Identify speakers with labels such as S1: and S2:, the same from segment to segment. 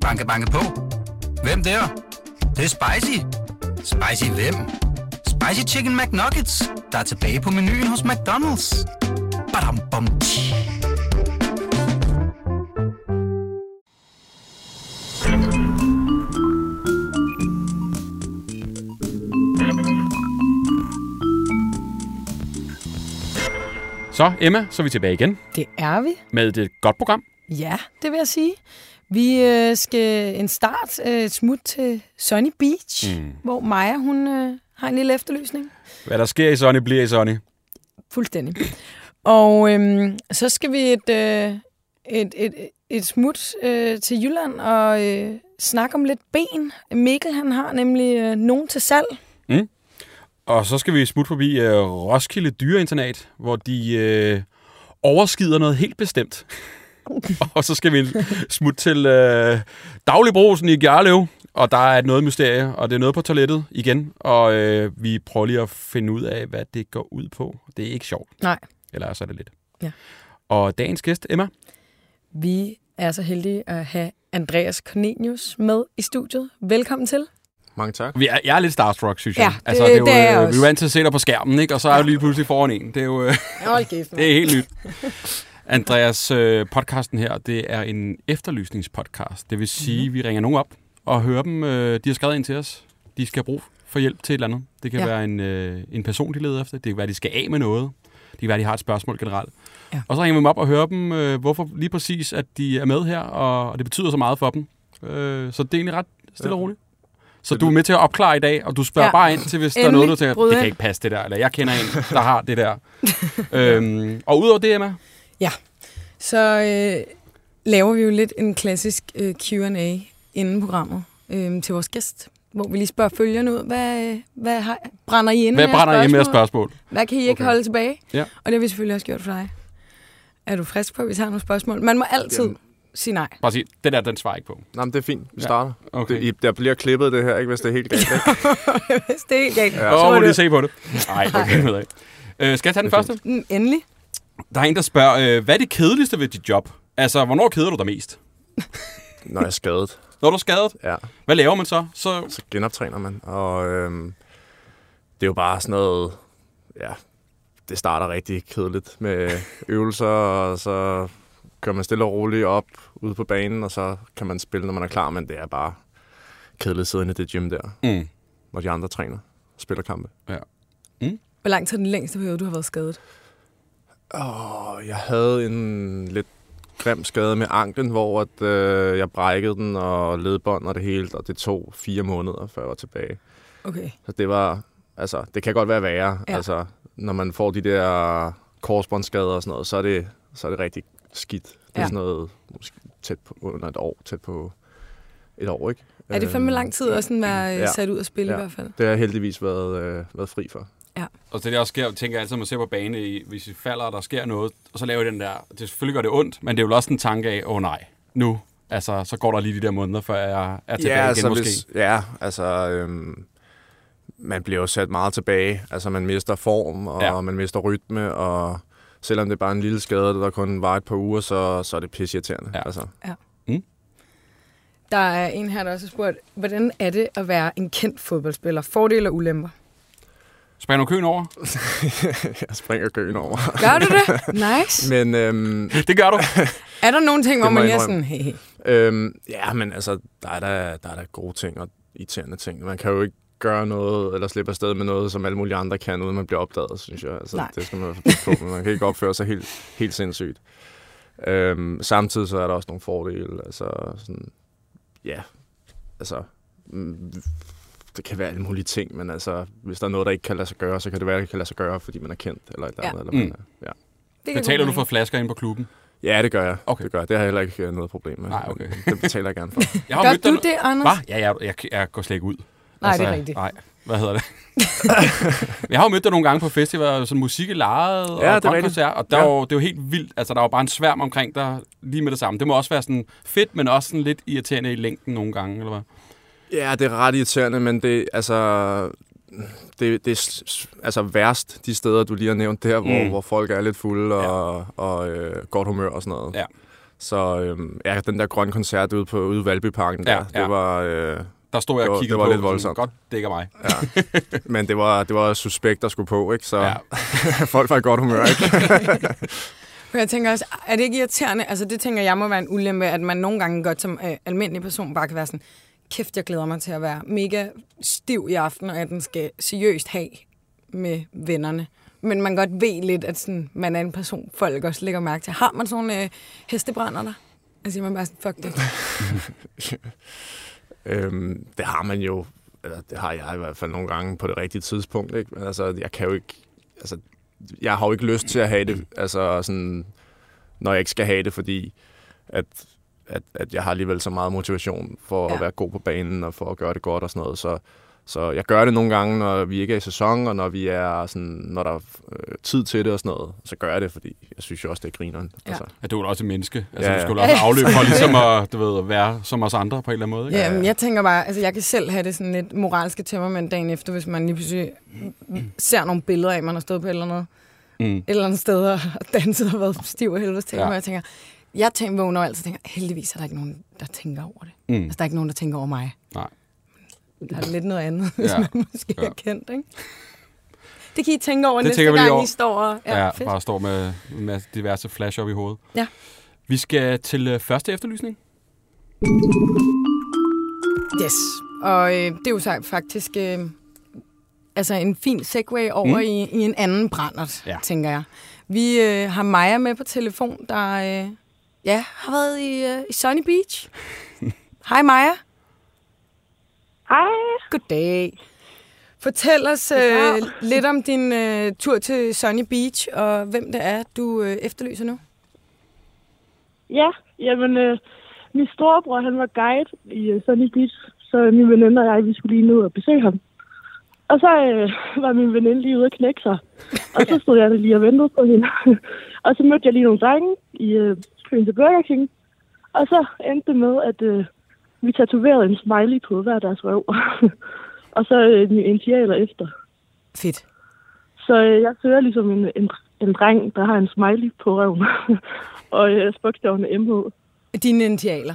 S1: Banke, banke på. Hvem der? Det, er? det er spicy. Spicy hvem? Spicy Chicken McNuggets, der er tilbage på menuen hos McDonald's. Badum, bom, tji.
S2: Så Emma, så er vi tilbage igen
S3: Det er vi.
S2: med et øh, godt program.
S3: Ja, det vil jeg sige. Vi øh, skal en start øh, et smut til Sunny Beach, mm. hvor Maja hun, øh, har en lille efterlysning.
S2: Hvad der sker i Sonny, bliver i Sonny.
S3: Fuldstændig. Og øhm, så skal vi et, øh, et, et, et smut øh, til Jylland og øh, snakke om lidt ben. Mikkel han har nemlig øh, nogen til salg.
S2: Og så skal vi smutte forbi øh, Roskilde Dyreinternat, hvor de øh, overskider noget helt bestemt. og så skal vi smutte til øh, Dagligbrosen i Gjerlev, og der er noget mysterie, og det er noget på toilettet igen. Og øh, vi prøver lige at finde ud af, hvad det går ud på. Det er ikke sjovt.
S3: Nej.
S2: Eller så er det lidt.
S3: Ja.
S2: Og dagens gæst, Emma.
S3: Vi er så heldige at have Andreas Cornelius med i studiet. Velkommen til.
S4: Mange tak.
S2: Vi er, jeg er lidt starstruck, synes jeg.
S3: Ja, det-
S2: jo,
S3: det er jeg
S2: øh, Vi er
S3: også.
S2: jo vant til at se dig på skærmen, ikke? og så er du lige pludselig foran en. Det er jo... øh,
S3: Hold kæft,
S2: Det er helt nyt. Andreas, øh, podcasten her, det er en efterlysningspodcast. Det vil sige, mm-hmm. vi ringer nogen op og hører dem. Øh, de har skrevet ind til os. De skal have brug for hjælp til et eller andet. Det kan
S3: Ja.
S2: ja. være en, øh, en person, de leder efter. Det kan være, de skal af med noget. Det kan være, de har et spørgsmål generelt.
S3: Ja.
S2: Ja. Og så ringer vi dem op og hører dem, øh, hvorfor lige præcis, at de er med her, og, og det betyder så meget for dem. Øh, så det er egentlig ret stille
S4: Ja.
S2: og roligt. Så du er med til at opklare i dag, og du spørger
S3: Ja.
S2: ja. bare ind til, hvis der er
S3: Endelig.
S2: noget, du tænker,
S3: Bryd
S2: det
S3: ind."
S2: kan ikke passe det der, eller jeg kender en, der har det der. øhm, og udover det, Emma,
S3: Så øh, laver vi jo lidt en klassisk øh, Q&A inden programmet øh, til vores gæst, hvor vi lige spørger følgerne ud, hvad, øh, hvad har, brænder I inde
S2: hvad
S3: af
S2: brænder I med af
S3: spørgsmål?
S2: spørgsmål?
S3: Hvad kan I ikke okay.
S4: Okay.
S3: holde tilbage?
S2: Ja.
S3: Og det har vi selvfølgelig også gjort for dig. Er du frisk på, at vi tager nogle spørgsmål? Man må altid
S4: Jamen.
S3: sige nej.
S2: Bare sig, det der, den svarer jeg ikke på.
S4: Nej, men det er fint. Vi
S2: Ja.
S4: starter.
S2: Okay.
S4: Det, I, der bliver klippet det her, ikke, hvis det er helt galt. Ikke?
S3: Hvis det er helt galt,
S2: Åh,
S3: så
S2: oh,
S3: er
S2: må du lige
S3: det
S2: se på det. Nej, okay, ved jeg ikke. Øh, skal jeg tage den
S4: Det er
S2: første?
S3: Mm, endelig.
S2: Der er en, der spørger, øh, hvad er det kedeligste ved dit job? Altså, hvornår keder du dig mest?
S4: Når jeg er skadet.
S2: Når du er skadet,
S4: Ja,
S2: hvad laver man så? Så
S4: så genoptræner man. Og øhm, det er jo bare sådan noget... Ja, det starter rigtig kedeligt med øvelser, og så kører man stille og roligt op ude på banen, og så kan man spille, når man er klar, men det er bare kedeligt siden i det gym der,
S2: mm,
S4: hvor de andre træner og spiller kampe.
S3: Hvor lang tid er den længste periode, du har været skadet?
S4: Og jeg havde en lidt grim skade med anklen, hvor at, øh, jeg brækkede den og ledbånd og det hele, og det tog fire måneder, før jeg var tilbage.
S3: Okay.
S4: Så det var, altså, det kan godt være værre.
S3: Ja.
S4: Ja. Altså, når man får de der korsbåndsskader og sådan noget, så er det, så er det rigtig skidt. Det er
S3: Ja.
S4: ja. sådan noget måske tæt på, under et år, tæt på et år, ikke?
S3: Er
S2: Øh,
S3: det fandme lang tid at sådan være ja.
S4: ja.
S3: sat ud og spille ja.
S4: Ja.
S3: i hvert fald?
S4: Det har jeg heldigvis været, øh, været fri for.
S2: Og det der også sker, tænker jeg altid, når man ser på banen, i, hvis I falder, og der sker noget, og så laver I den der, det selvfølgelig gør det ondt, men det er jo også en tanke af, åh oh, nej, nu, altså, så går der lige de der måneder, før jeg er tilbage ja, igen
S4: altså,
S2: måske.
S4: Hvis, ja, altså... Øhm, man bliver jo sat meget tilbage. Altså, man mister form, og
S2: Ja.
S4: ja. man mister rytme, og selvom det er bare en lille skade, der kun var et par uger, så, så er det pisseirriterende.
S2: Ja.
S4: Altså,
S3: Der er en her, der også har spurgt, hvordan er det at være en kendt fodboldspiller? Fordele og ulemper?
S2: Springer du køen over?
S4: jeg springer køen over.
S3: Gør du det? Nice.
S4: Men øhm,
S2: Det gør du.
S3: Er der nogle ting, hvor
S4: Det må
S3: man
S4: jeg
S3: er sådan,
S4: indrømme.
S3: hey, hey.
S4: Øhm, ja, men altså, der er da, der er da gode ting og irriterende ting. Man kan jo ikke gøre noget eller slippe afsted med noget, som alle mulige andre kan, uden man bliver opdaget, synes jeg. Altså,
S3: Nej.
S4: det skal man i hvert fald passe på, men man kan ikke opføre sig helt, helt sindssygt. Øhm, samtidig så er der også nogle fordele. Altså, sådan, ja, altså, mm, det kan være alle mulige ting, men altså, hvis der er noget, der ikke kan lade sig gøre, så kan det være, at det kan lade sig gøre, fordi man er kendt eller et eller
S3: Ja.
S4: andet. Eller man,
S2: Mm.
S4: er- ja.
S3: Det kan
S2: Betaler
S3: gå
S2: du for
S3: meget.
S2: flasker ind på klubben?
S4: ja, det gør jeg.
S2: Okay.
S4: Det, gør jeg. det har jeg heller ikke øh, noget problem med.
S2: Nej, okay.
S4: Det betaler jeg gerne for.
S2: Jeg mødt
S3: Gør
S2: dig
S3: du
S2: nu-
S3: det, Anders?
S2: Hva? Ja, jeg, jeg, jeg går slet ikke ud. Altså,
S3: Nej, det er rigtigt.
S2: Nej, hvad hedder det? jeg har jo mødt dig nogle gange på festivaler, sådan musik i lejet,
S4: det er
S2: og
S4: rigtigt.
S2: koncert, og der
S4: Ja.
S2: var, jo- det er jo helt vildt. Altså, der var bare en sværm omkring dig lige med det samme. Det må også være sådan fedt, men også sådan lidt irriterende i længden nogle gange, eller hvad?
S4: Ja, det er ret irriterende, men det, altså, det, det er s- s- altså værst de steder, du lige har nævnt der, hvor,
S2: Mm.
S4: mm. hvor folk er lidt fulde og, ja. og, øh, godt humør og sådan noget.
S2: Ja.
S4: Så øhm, ja, den der grønne koncert ude, på, ude i Valbyparken, der,
S2: Ja, ja.
S4: det var... Øh,
S2: Der stod jeg
S4: Det
S2: og
S4: var-
S2: kiggede
S4: det var
S2: på,
S4: lidt
S2: sådan,
S4: voldsomt.
S2: godt dækker mig.
S4: men det var, det var suspekt, der skulle på, ikke? Så
S2: Ja.
S4: ja. folk var i godt humør, ikke?
S3: Men Jeg tænker også, er det ikke irriterende? Altså det tænker jeg må være en ulempe, at man nogle gange godt som øh, almindelig person bare kan være sådan, kæft, jeg glæder mig til at være mega stiv i aften, og at den skal seriøst have med vennerne. Men man godt ved lidt, at sådan, man er en person, folk også lægger mærke til. Har man sådan nogle øh, hestebrænder der? Altså siger man bare sådan, fuck det.
S4: Øhm, det har man jo, eller det har jeg i hvert fald nogle gange på det rigtige tidspunkt, ikke? Men altså, jeg kan jo ikke, altså, jeg har jo ikke lyst til at have det, altså sådan, når jeg ikke skal have det, fordi at, at, at jeg har alligevel så meget motivation for ja.
S3: Ja.
S4: at være god på banen og for at gøre det godt og sådan noget, så, så jeg gør det nogle gange, når vi ikke er i sæson, og når, vi er sådan, når der er øh, tid til det og sådan noget, så gør jeg det, fordi jeg synes jo også, det er grineren.
S3: Ja.
S4: Altså,
S2: Ja, du er jo også et menneske. Altså,
S4: Ja,
S2: du
S4: ja.
S2: skulle også have afløb for ligesom at, du ved, at være som os andre på en eller anden måde. Ikke?
S3: Ja, men jeg tænker bare, altså jeg kan selv have det sådan lidt moralske tømmermænd dagen efter, hvis man lige pludselig ser nogle billeder af, man har stået på et eller andet, mm. et eller andet sted og danset og været stiv og helvedes til,
S2: Ja.
S3: ja. og jeg tænker, jeg tænker, vågner altid og tænker, heldigvis er der ikke nogen, der tænker over det.
S2: Mm.
S3: Altså der er ikke nogen, der tænker over mig.
S2: Nej.
S3: Der er lidt noget andet, hvis
S2: Ja.
S3: man måske
S2: Ja.
S3: ja. er kendt, ikke? Det kan I tænke over
S2: Det
S3: næste
S2: tænker vi lige
S3: gang,
S2: over.
S3: I står og...
S2: Ja, ja bare står med, med diverse flash op i hovedet.
S3: Ja.
S2: Vi skal til øh, første efterlysning.
S3: Yes, og øh, det er jo så faktisk øh, altså en fin segue over mm. i, i en anden brændert,
S2: Ja.
S3: ja. tænker jeg. Vi øh, har Maja med på telefon, der øh, ja, har været i, øh, i Sunny Beach. Hej Maja.
S5: Hej.
S3: Goddag. Fortæl os øh,
S5: Goddag.
S3: lidt om din øh, tur til Sunny Beach, og hvem det er, du øh, efterlyser nu.
S5: Ja, jamen, øh, min storebror, han var guide i øh, Sunny Beach, så min veninde og jeg, vi skulle lige ned og besøge ham. Og så øh, var min veninde lige ude at knække sig, og så stod jeg lige og ventede på hende. og så mødte jeg lige nogle drenge i øh, køen til Burger King, og så endte det med, at øh, vi tatoverede en smiley på hver deres røv, og så øh, en initialer efter.
S3: Fedt.
S5: Så øh, jeg søger ligesom en, en, en dreng, der har en smiley på røven, og øh, spokstavene MH.
S3: Dine initialer.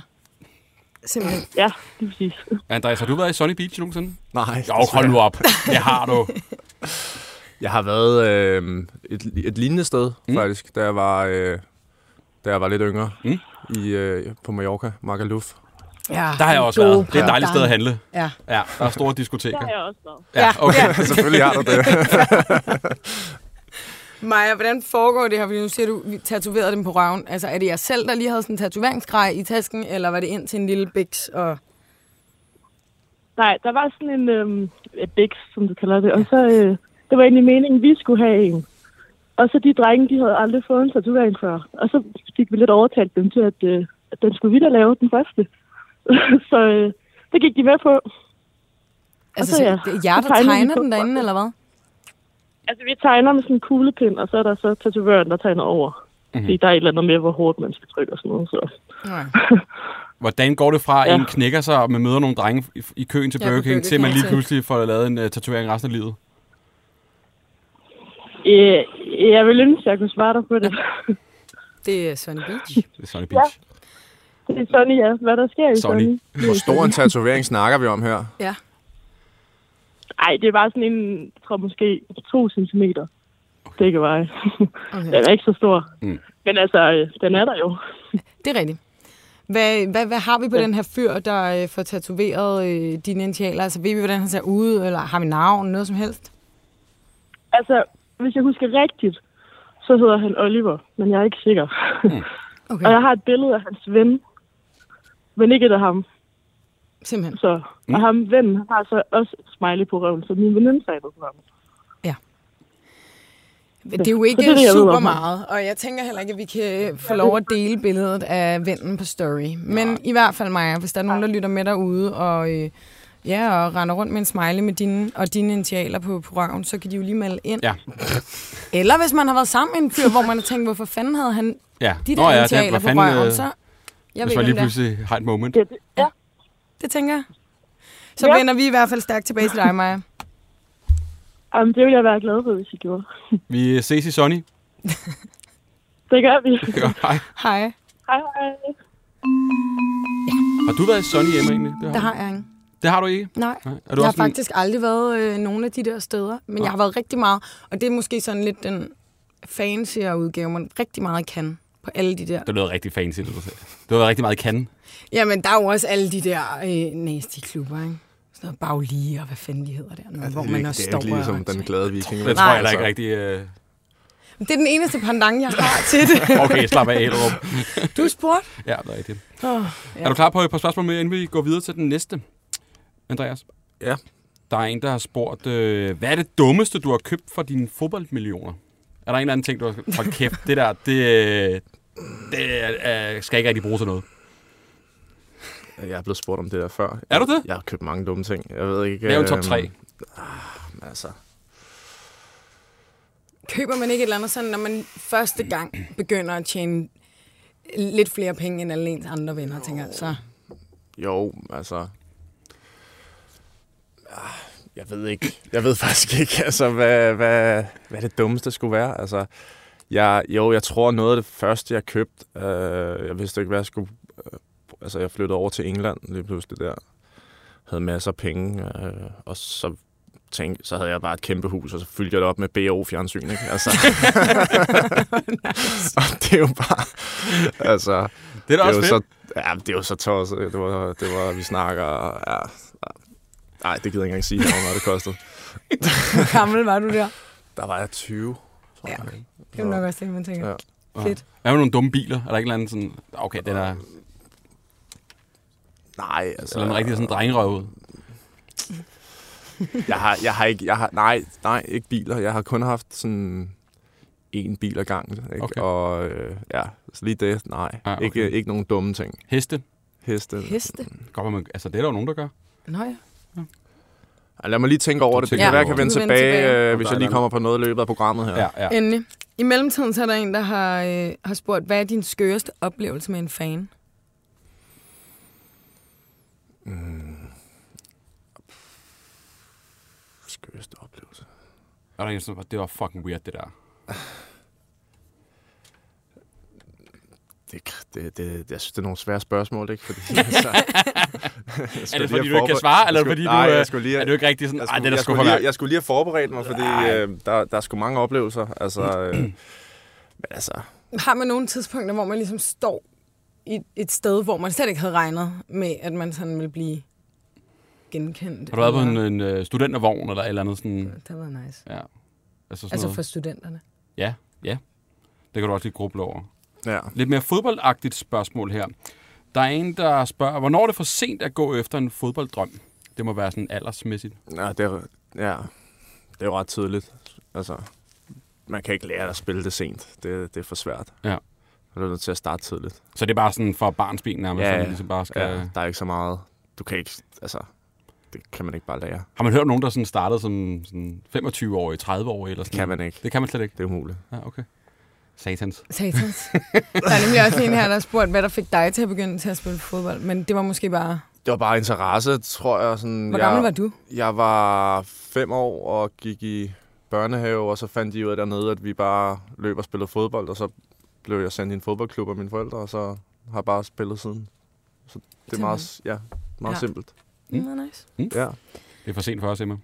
S3: Simpelthen.
S5: Ja, lige præcis.
S2: Andreas, har du været i Sunny Beach nogensinde?
S4: nej.
S2: Jo, hold nu op. Det har du.
S4: Jeg har været øh, et, et lignende sted, mm. faktisk, da jeg var, øh, da jeg var lidt yngre
S2: Mm.
S4: mm. i, øh, på Mallorca, Magaluf.
S3: Ja,
S2: Der har jeg også været. Det er et dejligt sted at handle.
S3: Ja.
S2: Ja, der er store diskoteker.
S5: jeg også været.
S2: Ja, okay.
S4: Selvfølgelig har du det.
S3: Maja, hvordan foregår det her? Fordi nu siger du, vi tatoverede dem på røven. Altså, er det jer selv, der lige havde sådan en tatoveringsgrej i tasken, eller var det ind til en lille biks? Og...
S5: Nej, der var sådan en øhm, et biks, som du kalder det. Og så, øh, det var egentlig meningen, vi skulle have en. Og så de drenge, de havde aldrig fået en tatovering før. Og så fik vi lidt overtalt dem til, at, øh, at den skulle vi da lave den første. så øh, det gik de med på.
S3: Altså,
S5: så
S3: så,
S5: ja,
S3: det er jer,
S5: så
S3: der
S5: tegnede vi
S3: tegner
S5: to
S3: den derinde,
S5: bolde.
S3: eller hvad?
S5: Altså, vi tegner med sådan en kuglepind, og så er der så tatovøren, der tegner over. Mm-hmm. Fordi der er et eller andet med, hvor hårdt man skal trykke og sådan noget. Så.
S3: Nej.
S2: Hvordan går det fra, at
S5: Ja.
S2: en knækker sig, og man møder nogle drenge i, i køen til
S3: Ja, på
S2: Burger King,
S3: Burger
S2: til man
S3: King,
S2: lige
S3: til-
S2: pludselig får lavet en uh, tatovering resten af livet?
S5: Øh, jeg vil ønske, at jeg kunne svare dig på det.
S3: Det er Sunny Beach.
S2: Det er Sunny Beach.
S5: det er Sonny, ja. Hvad der sker i
S2: Sonny.
S5: Sonny.
S4: Hvor stor en tatovering snakker vi om her?
S3: ja.
S5: Nej, det er bare sådan en, jeg tror måske to centimeter. Det kan være.
S3: Okay.
S5: Den er ikke så stor. Mm. Men altså, øh, den er der jo.
S3: Det er rigtigt. Hvad, hvad, hvad har vi på den her fyr, der øh, får tatoveret øh, dine initialer? Altså, ved vi, hvordan han ser ud, eller har vi navn, noget som helst?
S5: Altså, hvis jeg husker rigtigt, så hedder han Oliver, men jeg er ikke sikker. Mm.
S3: Okay,
S5: Og jeg har et billede af hans ven, men ikke et af ham.
S3: simpelthen.
S5: Så. Mm. Og ham vennen han har så også et smiley på røven, så min veninde sagde det på ham.
S3: Det er jo
S5: Så det
S3: ikke
S5: er det, jeg ved
S3: super
S5: om ham.
S3: meget, og jeg tænker heller ikke, at vi kan få lov at dele billedet af vennen på story. Men i hvert fald, Maja, hvis der er nogen, der lytter med derude og, øh, ja, og render rundt med en smiley med dine, og dine initialer på, på røven, så kan de jo lige melde ind.
S2: Ja.
S3: Eller hvis man har været sammen med en fyr, hvor man har tænkt, hvorfor fanden havde han
S2: Ja.
S3: de der
S2: ja,
S3: Nå, ja,
S2: det-
S3: initialer
S2: hvad
S3: på
S2: fanden,
S3: røven,
S2: øh,
S3: så... Jeg
S2: Hvis
S3: ved
S2: man lige
S3: ikke, om det, er.
S2: pludselig har et moment.
S5: Ja, det, ja.
S3: det tænker jeg. Så
S5: Ja.
S3: vender vi i hvert fald stærkt tilbage til dig, Maja.
S5: Jamen, det ville jeg være glad for, hvis I gjorde.
S2: Vi ses i Sunny.
S5: Det gør vi.
S2: Hej.
S3: Hej.
S5: Hej, hej.
S2: Har du været i Sunny hjemme egentlig? Det
S3: Der
S2: har,
S3: har jeg ikke.
S2: det har du ikke?
S3: Nej.
S2: Nej. Er du
S3: Jeg har
S2: også en-
S3: faktisk aldrig været øh, nogen af de der steder, men jeg har været rigtig meget, og det er måske sådan lidt den fancier udgave, man rigtig meget kan på alle de der.
S2: Det lyder rigtig fancy, det du sagde. Du har været rigtig meget i Cannes.
S3: Jamen, der er jo også alle de der øh, nasty klubber, ikke? Sådan noget baglige, og hvad fanden de hedder der, noget, hvor
S4: det er,
S3: man
S4: ikke,
S3: også
S4: det er
S3: står
S4: ikke ligesom
S3: og-
S4: den glade viking.
S2: Jeg
S4: vel?
S2: tror
S3: Nej,
S2: heller ikke
S4: altså.
S2: rigtig... Øh...
S3: Det er den eneste pendant, jeg har til det.
S2: Okay, slap af, Hellerup.
S3: Du spurgte.
S2: Ja, det er rigtigt.
S3: Oh,
S2: Er du klar på et par spørgsmål mere, inden vi går videre til den næste, Andreas?
S4: Ja.
S2: Der er en, der har spurgt, øh, hvad er det dummeste, du har købt for dine fodboldmillioner? Er der en eller anden ting, du har... Hold kæft, det der, det, øh, det øh, skal ikke rigtig bruge til noget.
S4: Jeg er blevet spurgt om det der før.
S2: Er du det?
S4: Jeg har købt mange dumme ting. Jeg ved ikke...
S2: Lav en top
S4: øhm,
S2: 3.
S4: Altså,
S3: Køber man ikke et eller andet sådan, når man første gang begynder at tjene lidt flere penge end alle ens andre venner, tænker jeg. Så
S4: jo, altså... Ah, Jeg ved ikke. Jeg ved faktisk ikke, altså, hvad, hvad, hvad det dummeste skulle være. Altså, jeg, jo, jeg tror, noget af det første, jeg købte... Øh, jeg vidste ikke, hvad jeg skulle... Øh, altså, jeg flyttede over til England lige pludselig der. Havde masser af penge, øh, og så tænkte, så havde jeg bare et kæmpe hus, og så fyldte jeg det op med BO-fjernsyn, ikke? Altså. og det er jo bare... Altså,
S2: Det er da også
S4: jo
S2: fedt.
S4: så, ja, det er jo så tosset. Det var, det var vi snakker... Ja, nej, det gider jeg ikke engang sige, hvor meget det kostede.
S3: hvor gammel var du der?
S4: Der var jeg 20. tror jeg.
S3: Det er jo nok også det, man tænker.
S4: Ja.
S3: Fedt.
S2: Hvad med nogle dumme biler? Er der ikke en eller anden sådan... Okay, den er...
S4: Nej,
S2: Så er den
S4: altså...
S2: rigtig sådan drengerøv ud.
S4: Jeg har, jeg har ikke... Jeg har, nej, nej, ikke biler. Jeg har kun haft sådan en bil ad gangen. Ikke?
S2: Okay.
S4: Og øh, ja, så lige det, nej.
S2: Ah,
S4: Ah,
S2: okay.
S4: okay. ikke, ikke nogen dumme ting.
S2: Heste.
S4: Heste.
S3: Heste?
S2: Godt, man, altså, det er der jo nogen, der gør.
S3: Nå ja.
S4: Ej, lad mig lige tænke over det. Det
S2: Tænk
S4: kan være, jeg
S2: over
S4: kan
S2: det.
S4: vende
S3: Du vender
S4: tilbage,
S3: tilbage.
S4: tilbage. Øh, hvis jeg lige kommer på noget i løbet af programmet her.
S2: Ja, ja.
S3: Endelig. I mellemtiden så er der en, der har, øh, har spurgt, hvad er din skøreste oplevelse med en fan?
S4: Skørste oplevelse.
S2: Og der er en, som det var fucking weird, det der.
S4: Det, det, det, jeg synes, det er nogle svære spørgsmål, ikke? Fordi, altså,
S2: Er det fordi, du ikke kan svare, eller er det fordi, du,
S4: nej,
S2: øh,
S4: jeg skulle lige,
S2: er du ikke rigtig sådan,
S4: jeg
S2: nej, det
S4: skulle,
S2: er der sgu
S4: jeg,
S2: for
S4: skulle lige,
S2: mærke.
S4: jeg skulle lige have forberedt mig, fordi øh, der, der er sgu mange oplevelser. Altså, øh, men altså,
S3: Har man nogle tidspunkter, hvor man ligesom står i et sted, hvor man slet ikke havde regnet med, at man sådan ville blive genkendt?
S2: Har du været på en,
S3: Eller-
S2: en øh, studentervogn, eller et eller andet sådan...
S3: Det var nice.
S2: Ja. Altså, sådan
S3: Altså
S2: noget.
S3: for studenterne.
S2: Ja, ja. Det kan du også lige gruble over.
S4: ja.
S2: Lidt mere fodboldagtigt spørgsmål her. Der er en, der spørger, hvornår er det for sent at gå efter en fodbolddrøm? Det må være sådan aldersmæssigt.
S4: Ja, det er, ja, det er jo ret tidligt. Altså, man kan ikke lære at spille det sent. Det, det er for svært.
S2: Ja.
S4: Du er nødt til at starte tidligt.
S2: Så det er bare sådan for barnsben nærmest,
S4: Ja,
S2: ja,
S4: ja.
S2: man ligesom bare skal...
S4: Ja.
S2: Ja.
S4: Der er ikke så meget. Du kan ikke, altså, det kan man ikke bare lære.
S2: Har man hørt om nogen, der sådan startede som sådan 25-årige, 30-årige eller sådan
S4: Kan man ikke.
S2: Det kan man slet ikke.
S4: Det er umuligt.
S2: Ja, okay. Satans.
S3: Satans. der er nemlig også en her, der spurgte, hvad der fik dig til at begynde til at spille fodbold. Men det var måske bare...
S4: Det var bare interesse, tror jeg. Sådan,
S3: Hvor
S4: jeg,
S3: gammel var du?
S2: Mm.
S4: Jeg var fem år og gik i børnehave, og så fandt de ud af dernede, at vi bare løb og spillede fodbold, og så blev jeg sendt i en fodboldklub af mine forældre, og så har jeg bare spillet siden. Så det er meget, ja, meget
S3: Ja.
S4: ja. simpelt.
S2: Mm.
S3: Mm. Det var nice.
S4: Ja.
S2: Det er for sent for os, Emma.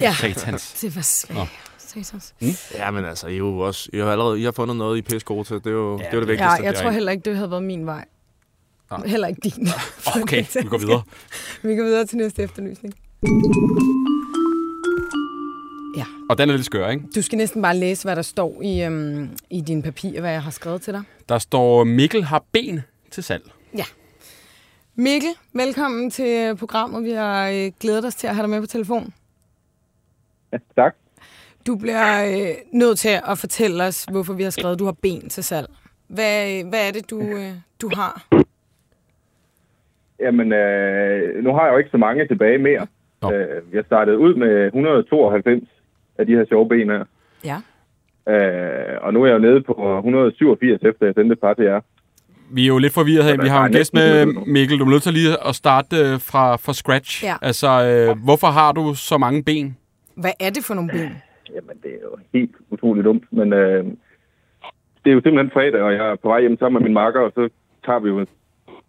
S3: Ja,
S2: Satans.
S3: det var
S2: Nå.
S3: svært. Satans.
S4: ja, men altså, I, er jo også, I har allerede I har fundet noget, I er pisse gode til. Det er jo det, er jo
S2: det-
S4: det vigtigste.
S3: Ja, jeg
S2: det er
S3: tror
S2: ikke-
S3: heller ikke, det havde været min vej.
S2: Nej.
S3: Heller ikke din.
S2: Okay, vi går videre.
S3: Vi går videre til næste efterlysning. Ja,
S2: Og den er lidt skør, ikke?
S3: du skal næsten bare læse, hvad der står i, øhm, i dine papirer, hvad jeg har skrevet til dig.
S2: Der står, Mikkel har ben til salg.
S3: Mikkel, velkommen til øh, programmet. Vi har øh, glædet os til at have dig med på telefon.
S6: Tak.
S3: Du bliver øh, nødt til at fortælle os, hvorfor vi har skrevet, at du har ben til salg. Hvad, øh, hvad er det, du, øh, du har?
S6: Jamen, øh, nu har jeg jo ikke så mange tilbage mere.
S2: Nå.
S6: Øh, jeg startede ud med 192 af de her sjove ben her.
S3: Ja.
S6: Øh, og nu er jeg jo nede på 187, efter jeg sendte et par til jer.
S2: Vi er jo lidt forvirret her. Vi har jo en gæst med, Mikkel. Du er nødt til lige at starte øh, fra, fra scratch.
S3: Ja.
S2: Altså, øh, hvorfor har du så mange ben?
S3: Hvad er det for nogle ben?
S6: Jamen, det er jo helt utroligt dumt, men øh, det er jo simpelthen fredag, og jeg er på vej hjem sammen med min makker, og så
S7: tager vi jo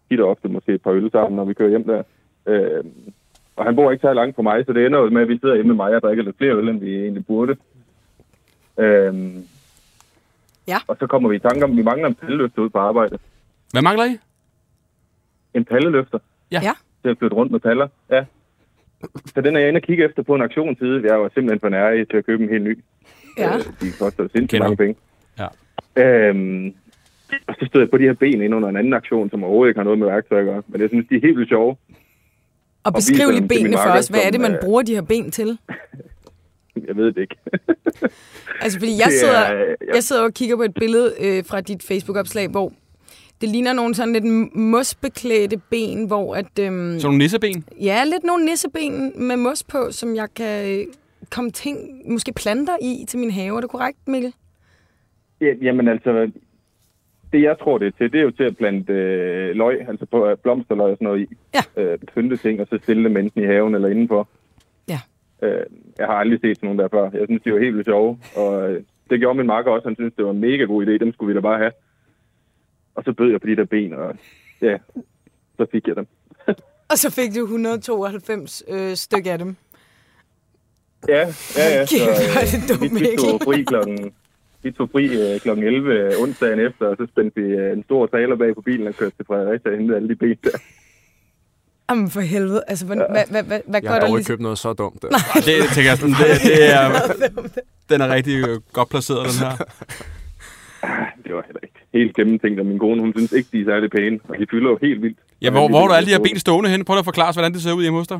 S7: tit og ofte måske et par øl sammen, når vi kører hjem der. Øh, og han bor ikke så langt fra mig, så det ender jo med, at vi sidder hjemme med mig og drikker lidt flere øl, end vi egentlig burde. Øh,
S3: Ja.
S7: Og så kommer vi i tanke om, at vi mangler en palleløfter ude på arbejde.
S2: Hvad mangler I?
S7: En palleløfter
S2: Ja.
S3: Ja.
S7: til at flytte rundt med paller, ja. Så den er jeg inde og kigge efter på en auktionsside. Jeg var simpelthen for nær i til at købe en helt ny.
S3: Ja.
S7: Øh, De koster sindssygt
S2: Kender
S7: mange
S2: du.
S7: penge.
S2: Ja.
S7: Øhm, og så stod jeg på de her ben ind under en anden aktion, som overhovedet ikke har noget med værktøj at gøre. Men jeg synes, de er helt vildt sjove.
S3: Og
S7: viser
S3: beskriv
S7: dem
S3: lige
S7: til min
S3: benene for
S7: makker,
S3: os. Hvad er det,
S7: som,
S3: man
S7: øh,
S3: bruger de her ben til?
S7: Jeg ved det ikke.
S3: Altså, fordi jeg
S7: Det er-
S3: sidder,
S7: jeg-
S3: jeg sidder og kigger på et billede øh, fra dit Facebook-opslag, hvor det ligner nogle sådan lidt mosbeklædte ben, hvor at... Øhm,
S2: Sådan nogle nisseben?
S3: Ja, lidt nogle nisseben med mos på, som jeg kan øh, komme ting, måske planter i til min have. Er det korrekt, Mikkel?
S7: Ja, Jamen altså, det jeg tror, det er til, det er jo til at plante øh, løg, altså på, øh, blomsterløg og sådan noget i.
S3: Ja.
S7: Øh, pynte ting, og så stille dem enten i haven eller indenfor.
S3: Ja.
S7: Øh, jeg har aldrig set sådan nogen der før. Jeg synes, de var helt vildt sjove. Og øh, det gjorde min makker også. Han synes, det var en mega god idé. Dem skulle vi da bare have. Og så bød jeg på de der ben, og ja, så fik jeg dem.
S3: Og så fik du 192 øh, styk af dem.
S7: Ja, ja, ja. Så, øh,
S3: Kæft, hvor er det dumt,
S7: vi, vi tog
S3: Mikkel.
S7: fri klokken vi tog fri øh, kl. 11 øh, onsdagen efter, og så spændte vi øh, en stor trailer bag på bilen og kørte til Fredericia og hentede alle de ben der.
S3: Jamen for helvede, altså hvad, ja. hvad, hvad, hvad, hvad
S4: Jeg
S3: gør
S4: har
S3: der
S4: dog ikke
S3: lige?
S4: købt noget så dumt. Der.
S2: Ej, det tænker jeg sådan, det, det er, den er rigtig øh, godt placeret, den her.
S7: Det var heller ikke helt gennemtænkt, og min kone, hun synes ikke, de er særlig pæne, og de fylder jo helt vildt.
S2: Ja, hvor, hvor er du alle de her ben stående henne? Prøv lige at forklare os, hvordan det ser ud hjemme hos dig.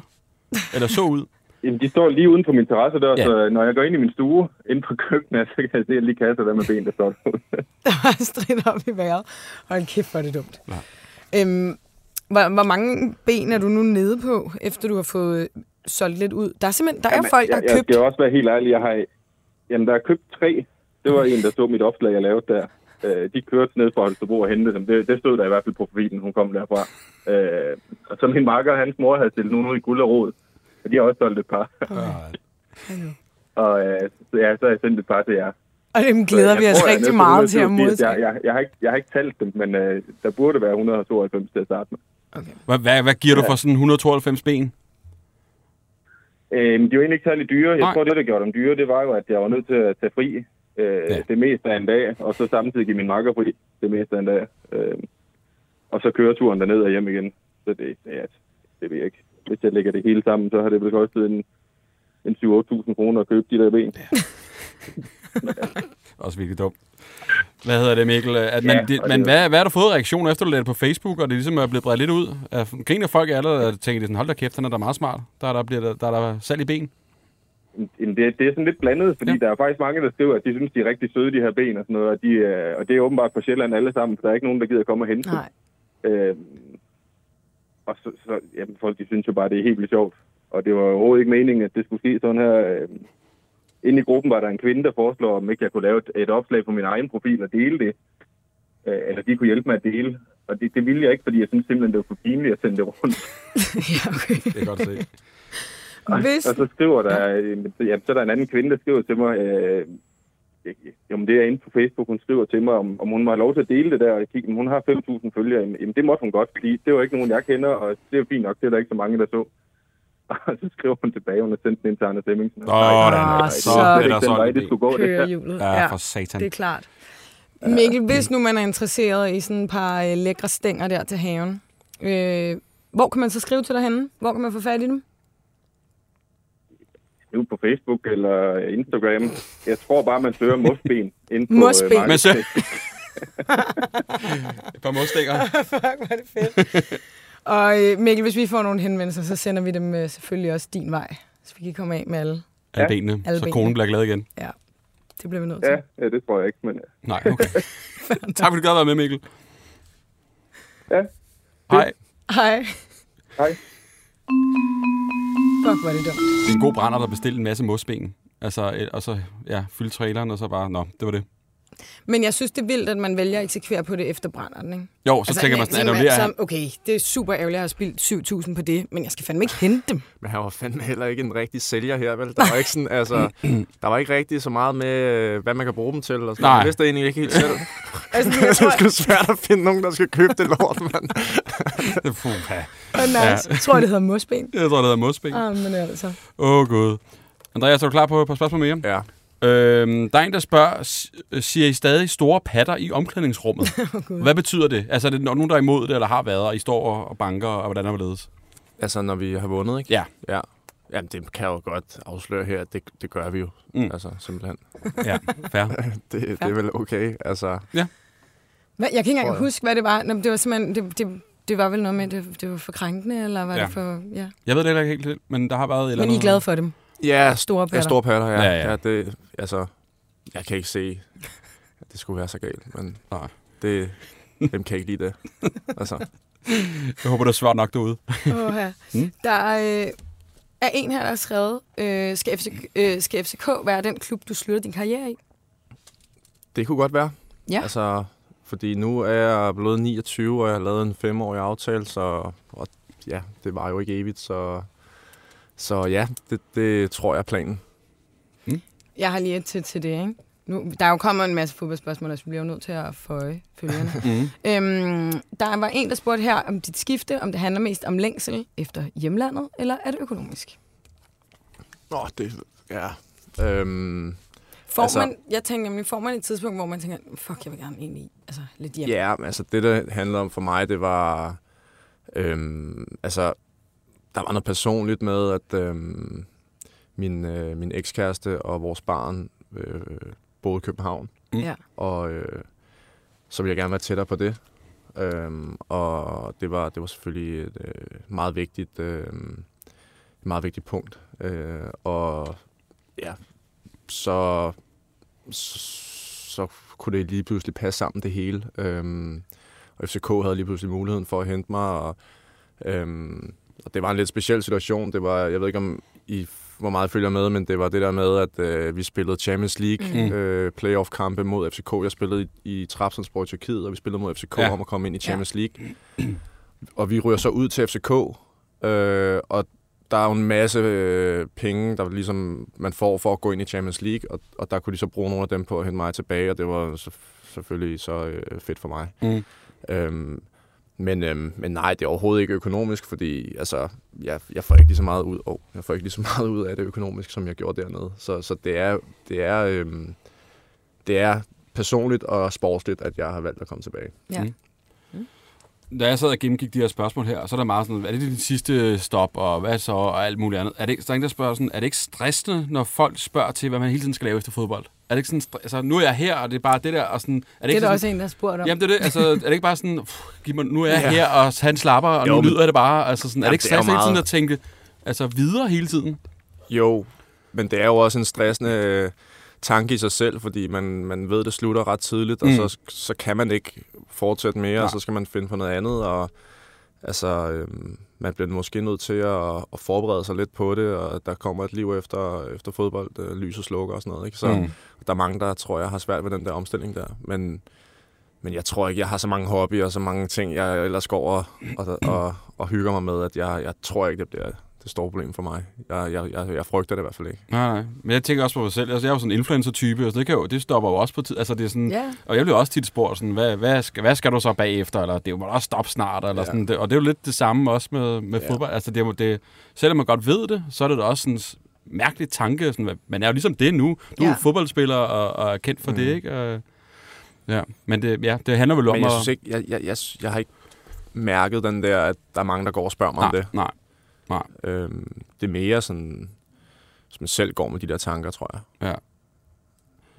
S2: Eller så ud.
S7: Jamen, de står lige uden for min terrasse der,
S2: Ja.
S7: ja. så øh, når jeg går ind i min stue, ind på køkkenet, så kan jeg se alle de kasser der med ben, der står derude.
S3: Der var stridt op i vejret. Hold kæft, hvor er det dumt. Øhm, hvor, hvor mange ben er du nu nede på, efter du har fået øh, solgt lidt ud? Der er simpelthen der er folk, der
S7: jeg,
S3: har
S7: jeg
S3: købt...
S7: skal også være helt ærlig, jeg har... Jamen, der er købt tre. Det var en, der så mit opslag, jeg lavede der. Øh, de kørte ned fra Holstebro og hentede dem. Det, det stod der i hvert fald på profilen, hun kom derfra. Øh, og så min makker og hans mor havde stillet nogle ud i guld og rod. Og de har også solgt et par. og øh, så, ja, så har jeg sendt et par til jer.
S3: Og dem glæder
S7: Så
S3: vi
S7: jeg
S3: os
S7: tror, jeg er nede
S3: rigtig
S7: på
S3: meget til at
S7: 187.
S3: modtage.
S7: Jeg, jeg, jeg, har ikke, jeg har ikke talt dem, men øh, der burde være 192 til at starte med.
S2: Hvad, hvad, hvad giver du for sådan 192 ben?
S7: Øh, men de var egentlig ikke særlig dyre. Jeg
S2: Nej.
S7: tror, det, der gjorde dem dyre, det var jo, at jeg var nødt til at tage fri øh,
S2: Ja.
S7: ja. det meste af en dag, og så samtidig give min makker fri det meste af en dag. Øh, og så køre turen derned og hjem igen. Så det, ja, det ved jeg ikke. Hvis jeg lægger det hele sammen, så har det vel kostet en, en 7-8.000 kroner at købe de der ben.
S2: Også virkelig dumt. Hvad hedder det, Mikkel? At man,
S7: Ja,
S2: ja, det,
S7: og
S2: men
S7: det-
S2: hvad, hvad har du fået reaktioner efter, du lagde det på Facebook, og det ligesom er blevet bredt lidt ud? Er- Griner folk af alle, og tænker, de sådan, hold da kæft, han er da meget smart. Der, er der, bliver, der, der er der salg i ben.
S7: Jamen, det, det er sådan lidt blandet, fordi
S2: Ja.
S7: ja. der er faktisk mange, der skriver, at de synes, de er rigtig søde, de her ben og sådan noget. Og, de, øh, og det er åbenbart på Sjælland alle sammen, for der er ikke nogen, der gider komme og hente dem.
S3: Nej.
S7: Øh, og så, så jamen, folk, de synes jo bare, det er helt vildt sjovt. Og det var overhovedet ikke meningen, at det skulle ske sådan her. Øh, inde i gruppen var der en kvinde, der foreslår, om ikke jeg kunne lave et, et opslag på min egen profil og dele det. Øh, eller de kunne hjælpe mig at dele. Og det, det ville jeg ikke, fordi jeg synes simpelthen, det var for pinligt at sende det rundt.
S3: Ja, okay.
S2: Det er godt set.
S3: Hvis...
S7: Og så skriver der, øh, ja, så er der en anden kvinde, der skriver til mig, øh, jamen det er inde på Facebook, hun skriver til mig, om, om hun må have lov til at dele det der, og jeg kigger, men hun har 5.000 følgere, jamen jamen, det måtte hun godt, fordi det var ikke nogen, jeg kender, og det er fint nok, det er der ikke så mange, der så. Og så skriver hun tilbage, hun har sendt den ind til Anders Hemmingsen.
S2: Nå, da, da, da.
S3: så
S7: det var
S2: er der
S7: slet ikke den
S2: så
S7: vej,
S2: en
S7: det
S2: idé.
S7: skulle gå. Det
S3: kører
S7: der.
S3: hjulet.
S2: Ja, for satan.
S3: det er klart. Mikkel, hvis nu man er interesseret i sådan et par øh, lækre stænger der til haven, øh, hvor kan man så skrive til dig henne? Hvor kan man få fat i dem?
S7: Nu på Facebook eller øh, Instagram. Jeg tror bare, man søger mosben. inde på, øh,
S3: Mosben.
S7: Marketplads.
S2: Men så... Et par modstikker.
S3: Fuck, hvor er det fedt. Og øh, Mikkel, hvis vi får nogle henvendelser, så sender vi dem øh, selvfølgelig også din vej, så vi kan komme af med alle.
S2: Alle benene,
S3: Alle
S2: så
S3: benene.
S2: konen bliver glad igen.
S3: Ja, det bliver vi nødt til.
S7: Ja, ja, det tror jeg ikke, men øh,
S2: Nej, okay. tak fordi du gad at være med, Mikkel.
S7: ja,
S2: Hej.
S3: Hej.
S7: hej.
S3: Fuck, hvor er det dumt.
S2: Det er en øh, god brænder, der bestilte en masse mosben. Altså, et- og så ja, fylde traileren, og så bare, nå, det var det.
S3: Men jeg synes, det er vildt, at man vælger at eksekvere på det efter brænderen, ikke?
S2: Jo, så altså, tænker man sådan, at der bliver...
S3: så, okay, det er super ærgerligt at have spildt 7.000 på det, men jeg skal fandme ikke hente dem.
S4: Men han var fandme heller ikke en rigtig sælger her, vel? Der var ikke, sådan, altså, der var ikke rigtig så meget med, øh, hvad man kan bruge dem til. Og sådan.
S2: Nej.
S4: Jeg vidste det egentlig ikke helt selv.
S3: Altså,
S4: det
S3: jeg
S4: er
S3: tror,
S4: sgu svært at finde nogen, der skal købe det lort, mand.
S2: Puh, ja.
S3: oh, nice. jeg tror, det hedder mosben.
S2: Jeg tror, det hedder modspil. Åh,
S3: Ah, men altså.
S2: oh, gud. Andreas, er du klar på et par spørgsmål mere?
S4: Ja.
S2: Øhm, der er en, der spørger, s- øh, siger I stadig store patter i omklædningsrummet? Hvad betyder det? Altså, er det nogen, der er imod det, eller har været, og I står og og banker, og hvordan er det ledes?
S4: Altså, når vi har vundet, ikke?
S2: Ja.
S4: Ja. Jamen, det kan jeg jo godt afsløre her, at det, det gør vi jo.
S2: Mm.
S4: Mm. Altså, simpelthen.
S2: Ja, fair.
S4: Det, det er vel okay. Altså,
S3: Hvad, jeg kan ikke
S4: Tror
S3: engang
S4: jeg.
S3: huske, hvad det var. Nå, men det var simpelthen... Det, det, det var vel noget med, at det, det var for krænkende, eller var
S2: Ja.
S3: ja. det for... Ja.
S2: Jeg ved det heller ikke helt, men der har været et eller
S3: Men I
S2: andet.
S3: er glade for dem.
S4: ja,
S3: Store
S4: Ja,
S3: patter.
S4: store patter, ja.
S2: Ja, ja.
S4: det, altså, jeg kan ikke se, at det skulle være så galt, men
S2: Nej.
S4: det, dem kan ikke lide det. Altså,
S2: Jeg håber, det er svært nok derude.
S3: Åh, ja.
S2: Mm.
S3: Der øh, er en her, der har skrevet, øh, skal, FCK, øh, skal FCK være den klub, du slutter din karriere i?
S4: det kunne godt være.
S3: Ja.
S4: Altså, fordi nu er jeg blevet 29, og jeg har lavet en femårig aftale, så og, ja, det var jo ikke evigt, så, så ja, det, det tror jeg er planen.
S3: Jeg har lige et til, til det, ikke? Nu, der er jo kommet en masse fodboldspørgsmål, og så bliver jeg jo nødt til at føje følgerne.
S2: Mm.
S3: øhm, der var en, der spurgte her om dit skifte, om det handler mest om længsel efter hjemlandet, eller er det økonomisk?
S4: Nå, det, ja. Øhm,
S3: Får
S4: Altså-
S3: altså, man, jeg tænker nemlig, får man et tidspunkt, hvor man tænker, fuck, jeg vil gerne egentlig altså, lidt hjem.
S4: Ja, men altså det, der handlede om for mig, det var... Øhm, altså, der var noget personligt med, at øhm, min, øh, min ekskæreste og vores barn øh, boede i København.
S2: Mm.
S3: Ja.
S4: Og øh, så ville jeg gerne være tættere på det. Øhm, og det var, det var selvfølgelig et øh, meget vigtigt, øh, et meget vigtigt punkt. Øh, og ja, så, så, så kunne det lige pludselig passe sammen det hele. Øhm, og FCK havde lige pludselig muligheden for at hente mig, og, øhm, og det var en lidt speciel situation. Det var, jeg ved ikke om I f- hvor meget I følger med, men det var det der med, at øh, vi spillede Champions League
S2: Mm.
S4: mm. øh, playoff-kampe mod FCK. Jeg spillede i, i Trabzonspor i Tyrkiet, og vi spillede mod FCK
S2: Ja.
S4: ja. om at komme ind i Champions League. Og vi ryger så ud til FCK, øh, og der er jo en masse øh, penge, der ligesom man får for at gå ind i Champions League, og, og der kunne de så bruge nogle af dem på at hente mig tilbage, og det var så, selvfølgelig så øh, fedt for mig.
S2: Mm.
S4: Øhm, men, øhm, men nej, det er overhovedet ikke økonomisk, fordi altså, jeg, jeg, får ikke lige så meget ud, oh, jeg får ikke lige så meget ud af det økonomisk, som jeg gjorde dernede. Så, så det, er, det, er, øhm, det er personligt og sportsligt, at jeg har valgt at komme tilbage.
S3: Ja.
S2: Mm. Da jeg sad og gennemgik de her spørgsmål her, så er der meget sådan, er det dit sidste stop, og hvad så, og alt muligt andet. Er det, ikke- så er der en, der spørger sådan, er det ikke stressende, når folk spørger til, hvad man hele tiden skal lave efter fodbold? Er det ikke sådan, stre- altså, nu er jeg her, og det er bare det der, og sådan, er det,
S3: Det
S2: ikke
S3: er der
S2: sådan,
S3: også en, der har spurgt om.
S2: Jamen det er det, altså, er det ikke bare sådan, pff, giv mig, nu er jeg
S4: Ja.
S2: her, og han slapper, og
S4: Jo,
S2: nu
S4: men-
S2: lyder det bare, altså sådan, er det
S4: Jamen,
S2: ikke
S4: det er jo
S2: stressende hele tiden
S4: meget-
S2: at tænke, altså videre hele tiden?
S4: Jo, men det er jo også en stressende øh, tanke i sig selv, fordi man, man ved, det slutter ret tidligt,
S2: Mm.
S4: og så, så kan man ikke fortsætte mere, og så skal man finde på noget andet, og altså, øh, man bliver måske nødt til at, at forberede sig lidt på det, og der kommer et liv efter, efter fodbold, øh, lys og slukker og sådan noget, ikke? Så
S2: Mm.
S4: mm. der er mange, der tror jeg har svært ved den der omstilling der, men men jeg tror ikke, jeg har så mange hobbyer og så mange ting, jeg ellers går og, og, og, og hygger mig med, at jeg, jeg tror ikke, det bliver det store problem for mig. Jeg, jeg, jeg, jeg frygter det i hvert fald ikke.
S2: Nej, nej. Men jeg tænker også på mig selv. Altså, jeg er jo sådan en influencer-type, og så det, kan jo, det stopper jo også på tid. Altså, det er sådan,
S3: Ja.
S2: Og jeg bliver også tit spurgt, sådan, hvad, hvad, skal, hvad skal du så bagefter? Eller det er jo må du også stoppe snart. Eller ja.
S4: Ja.
S2: sådan, det, og det er jo lidt det samme også med, med ja. fodbold. Altså, det, er jo- det, selvom man godt ved det, så er det da også sådan en mærkelig tanke. Sådan, hvad- man er jo ligesom det nu. Du ja. er
S3: Ja.
S2: fodboldspiller og, og er kendt for mm. det, ikke? Og, ja, men det, ja, det handler vel om
S4: Men jeg
S2: at...
S4: synes ikke, jeg, jeg, jeg, jeg har ikke mærket den der, at der er mange, der går og spørger mig
S2: nej,
S4: om det.
S2: nej.
S4: Øhm, det er mere sådan, som man selv går med de der tanker, tror jeg.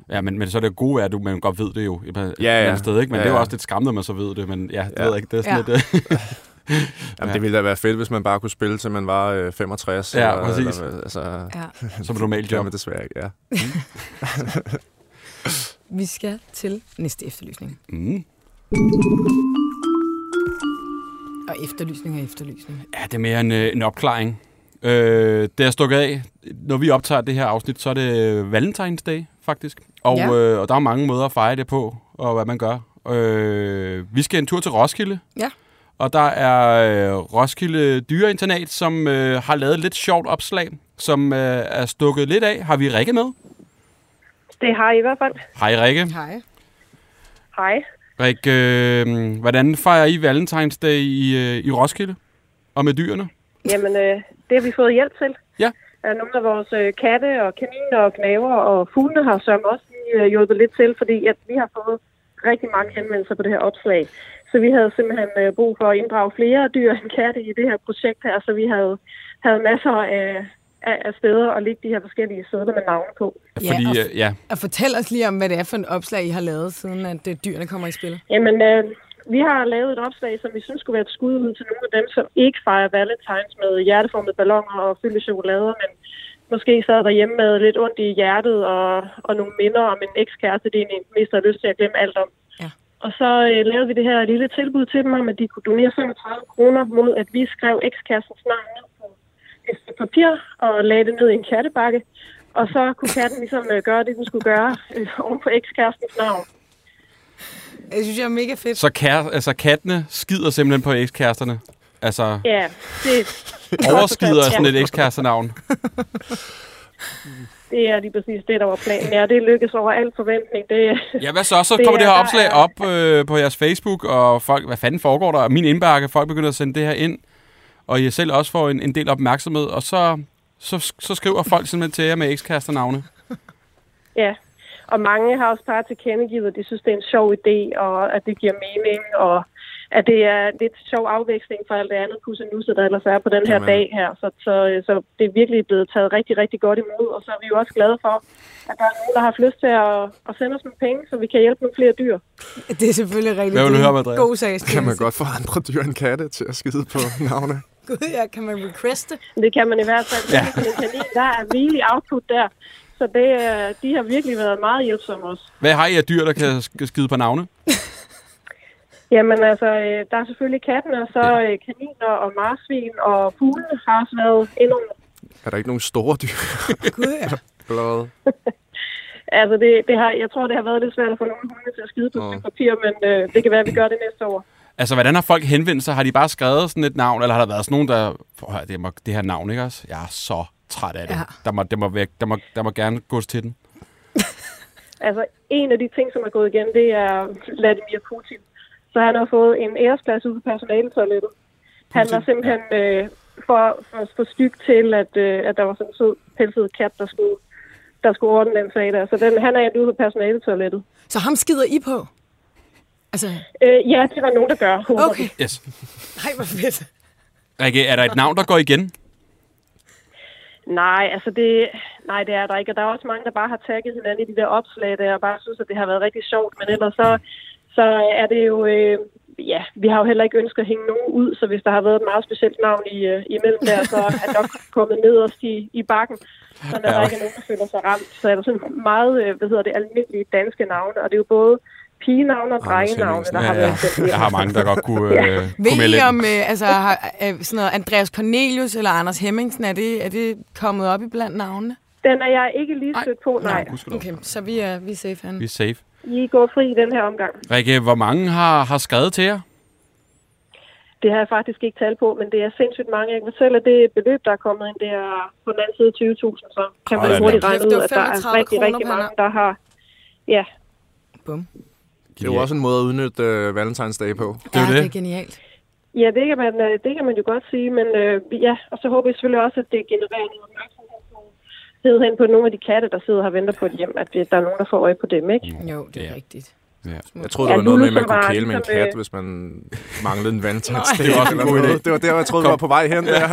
S2: Ja, men, men så er det gode er, at du, man godt ved det jo et, ja,
S4: ja.
S2: ja. et sted, ikke? Men ja,
S4: Ja,
S2: det er jo
S4: ja.
S2: også lidt skræmmende, at man så ved det, men ja, det ja.
S4: Ja.
S2: ved jeg ikke, det er sådan ja. lidt...
S4: Jamen,
S2: Ja.
S4: ja. Det ville da være fedt, hvis man bare kunne spille, til man var øh, 65.
S2: Ja, præcis.
S4: Eller, altså, ja.
S3: ja.
S2: øh, som et normalt
S4: Det kan
S2: job.
S4: man desværre ikke, ja.
S3: Vi skal til næste efterlysning.
S2: Mm.
S3: Og efterlysning og efterlysning.
S2: Ja, det er mere en, øh, en opklaring. Øh, det er stukket af. Når vi optager det her afsnit, så er det øh, Valentine's Day faktisk. Og,
S7: Ja.
S2: øh, og der er mange måder at fejre det på, og hvad man gør. Øh, vi skal en tur til Roskilde.
S7: Ja.
S2: Og der er øh, Roskilde Dyreinternat, som øh, har lavet et lidt sjovt opslag, som øh, er stukket lidt af. Har vi Rikke med?
S5: Det har I i hvert fald.
S2: Hej Rikke.
S7: Hej.
S5: Hej.
S2: Rikke, øh, hvordan fejrer I Valentinsdag i, øh, i Roskilde? Og med dyrene?
S5: Jamen, øh, det har vi fået hjælp til.
S2: Ja.
S5: Øh, Nogle af vores øh, katte og kaniner og knaver og fuglene har som også lige øh, hjulpet lidt til, fordi at vi har fået rigtig mange henvendelser på det her opslag. Så vi havde simpelthen øh, brug for at inddrage flere dyr end katte i det her projekt her, så vi havde, havde masser af, af, af steder at ligge de her forskellige sæder med navne på.
S7: Ja,
S2: Fordi,
S7: og-
S2: øh, ja,
S7: Og fortæl os lige om, hvad det er for et opslag, I har lavet, siden at øh, dyrene kommer i spil.
S5: Jamen, øh, vi har lavet et opslag, som vi synes skulle være et skud ud til nogle af dem, som ikke fejrer valentines med hjerteformede balloner og fyldte chokolader, men måske sad derhjemme med lidt ondt i hjertet og, og nogle minder om en ekskæreste, de egentlig mest har lyst til at glemme alt om.
S7: Ja.
S5: Og så øh, lavede vi det her lille tilbud til dem om, at de kunne donere 35 kroner mod, at vi skrev ekskærestens navn ned på et stykke papir og lagde det ned i en kattebakke. Og så kunne katten ligesom øh, gøre det, den skulle gøre øh, oven på ekskærestens navn.
S7: Jeg synes, jeg er mega fedt.
S2: så kær, altså, kattene skider simpelthen på ekskæresterne. Altså,
S5: Ja, det,
S2: overskider
S5: Ja.
S2: sådan et ekskærestenavn.
S5: Det er lige præcis det, der var planen. Ja, det lykkedes over al forventning. Det,
S2: Ja, hvad så? Så
S5: Det
S2: kommer det,
S5: er-
S2: her
S5: der
S2: opslag
S5: er-
S2: op øh, på jeres Facebook, og folk, hvad fanden foregår der? Min indbakke, folk begynder at sende det her ind, og I selv også får en, en del opmærksomhed, og så, så, så skriver folk simpelthen til jer med ekskæresternavne.
S5: ja. Og mange har også bare tilkendegivet, at de synes, det er en sjov idé, og at det giver mening, og at det er en lidt sjov afveksling fra alt det andet pussenusse, der ellers er på den her
S2: Jamen.
S5: dag her. Så, så, så det er virkelig blevet taget rigtig, rigtig godt imod, og så er vi jo også glade for, at der er nogen, der har haft lyst til at, at sende os nogle penge, så vi kan hjælpe nogle flere dyr.
S7: Det er selvfølgelig rigtig
S2: Hvad vil du
S7: det er
S2: høre om,
S7: en
S2: Andrea?
S7: God sag.
S4: Kan man godt få andre dyr end katte til at skide på navne?
S7: Gud, ja, kan man requeste?
S5: Det kan man i hvert fald. Ja. Der er virkelig output der. Så det, øh, de har virkelig været meget hjælpsomme også.
S2: Hvad har I af dyr, der kan sk- skide på navne?
S5: Jamen altså, øh, der er selvfølgelig katten, og så øh, kaniner og marsvin, og fuglene har også været enormt.
S4: Er der ikke nogen store dyr?
S7: Gud, ja.
S4: Blad.
S5: Altså, det, det har, jeg tror, det har været lidt svært at få nogle hunde til at skide på
S4: Åh.
S5: oh. papir, men øh, det kan være, at vi gør det næste år.
S2: Altså, hvordan har folk henvendt sig? Har de bare skrevet sådan et navn, eller har der været sådan nogen, der... Prøv at høre, det, må, det her navn, ikke også? Jeg er så træt af det.
S7: Ja.
S2: Der, må, det må væk, der, må, der må gerne gås til den.
S5: Altså, en af de ting, som er gået igen, det er Vladimir Putin. Så han har fået en æresplads ude på personaletoilettet. Han var simpelthen øh, for, for, for styg til, at, øh, at der var sådan en sød pelset kat, der skulle, der skulle ordne den sag der. Så den, han er endt ude på personaletoilettet.
S7: Så ham skider I på? Altså,
S5: Øh, ja, det var nogen, der gør. håber vi.
S7: okay.
S2: Yes.
S7: Nej, hvor fedt.
S2: Rikke, er der et navn, der går igen?
S5: Nej, altså det, nej, det er der ikke. Og der er også mange, der bare har tagget hinanden i de der opslag der, og bare synes, at det har været rigtig sjovt. Men ellers så, så er det jo... Øh, ja, vi har jo heller ikke ønsket at hænge nogen ud, så hvis der har været et meget specielt navn i, øh, imellem der, så er det nok kommet nederst i, i bakken, så der, ja.
S2: Ja.
S5: der ikke er nogen, der føler sig ramt. Så er der sådan meget, øh, hvad hedder det, almindelige danske navne, og det er jo både pigenavne og drengenavne, der
S4: Henningsen.
S5: har
S2: Ja, ja.
S5: været sendt
S2: Jeg har mange, der godt kunne, øh, kunne
S7: Ved
S2: melde
S7: I
S2: ind.
S7: om øh, altså, har, øh, sådan noget Andreas Cornelius eller Anders Hemmingsen? Er det, er det kommet op i blandt navnene?
S5: Den er jeg ikke lige stødt på, nej.
S2: Okay.
S7: Okay, så vi er, vi er safe, han.
S2: Vi er safe.
S5: I går fri i den her omgang.
S2: Rikke, hvor mange har, har skrevet til jer?
S5: Det har jeg faktisk ikke tal på, men det er sindssygt mange. Jeg kan fortælle, at det beløb, der er kommet ind, det er på den anden side 20.000, så kan
S2: Hold
S5: man
S2: da
S5: hurtigt
S2: op.
S5: regne
S7: Det er
S5: ud, at der er
S7: 35
S5: rigtig,
S7: kroner
S5: rigtig
S7: per
S5: mange,
S7: navn.
S5: der har... Ja,
S7: Bum.
S4: Det er jo også en måde at udnytte øh, Valentinsdag på.
S2: Det er jo
S7: ja,
S2: det.
S7: det er genialt.
S5: ja det, kan man, øh, det kan man jo godt sige, men øh, ja, og så håber jeg selvfølgelig også, at det genererer noget opmærksomhed hen på nogle af de katte, der sidder og venter på et hjem, at øh, der er nogen, der får øje på dem, ikke?
S7: Jo, det er
S2: Ja.
S7: rigtigt.
S4: Jeg troede, det
S5: Ja,
S4: var noget
S5: nu
S4: med, at man
S5: ligesom
S4: kunne
S5: bare-
S4: kæle med en
S5: ligesom, øh,
S4: kat, hvis man manglede en valentinsdag.
S2: Det er også en
S4: eller
S2: god
S4: noget. Det var der, hvor jeg troede, vi var på vej hen. Der.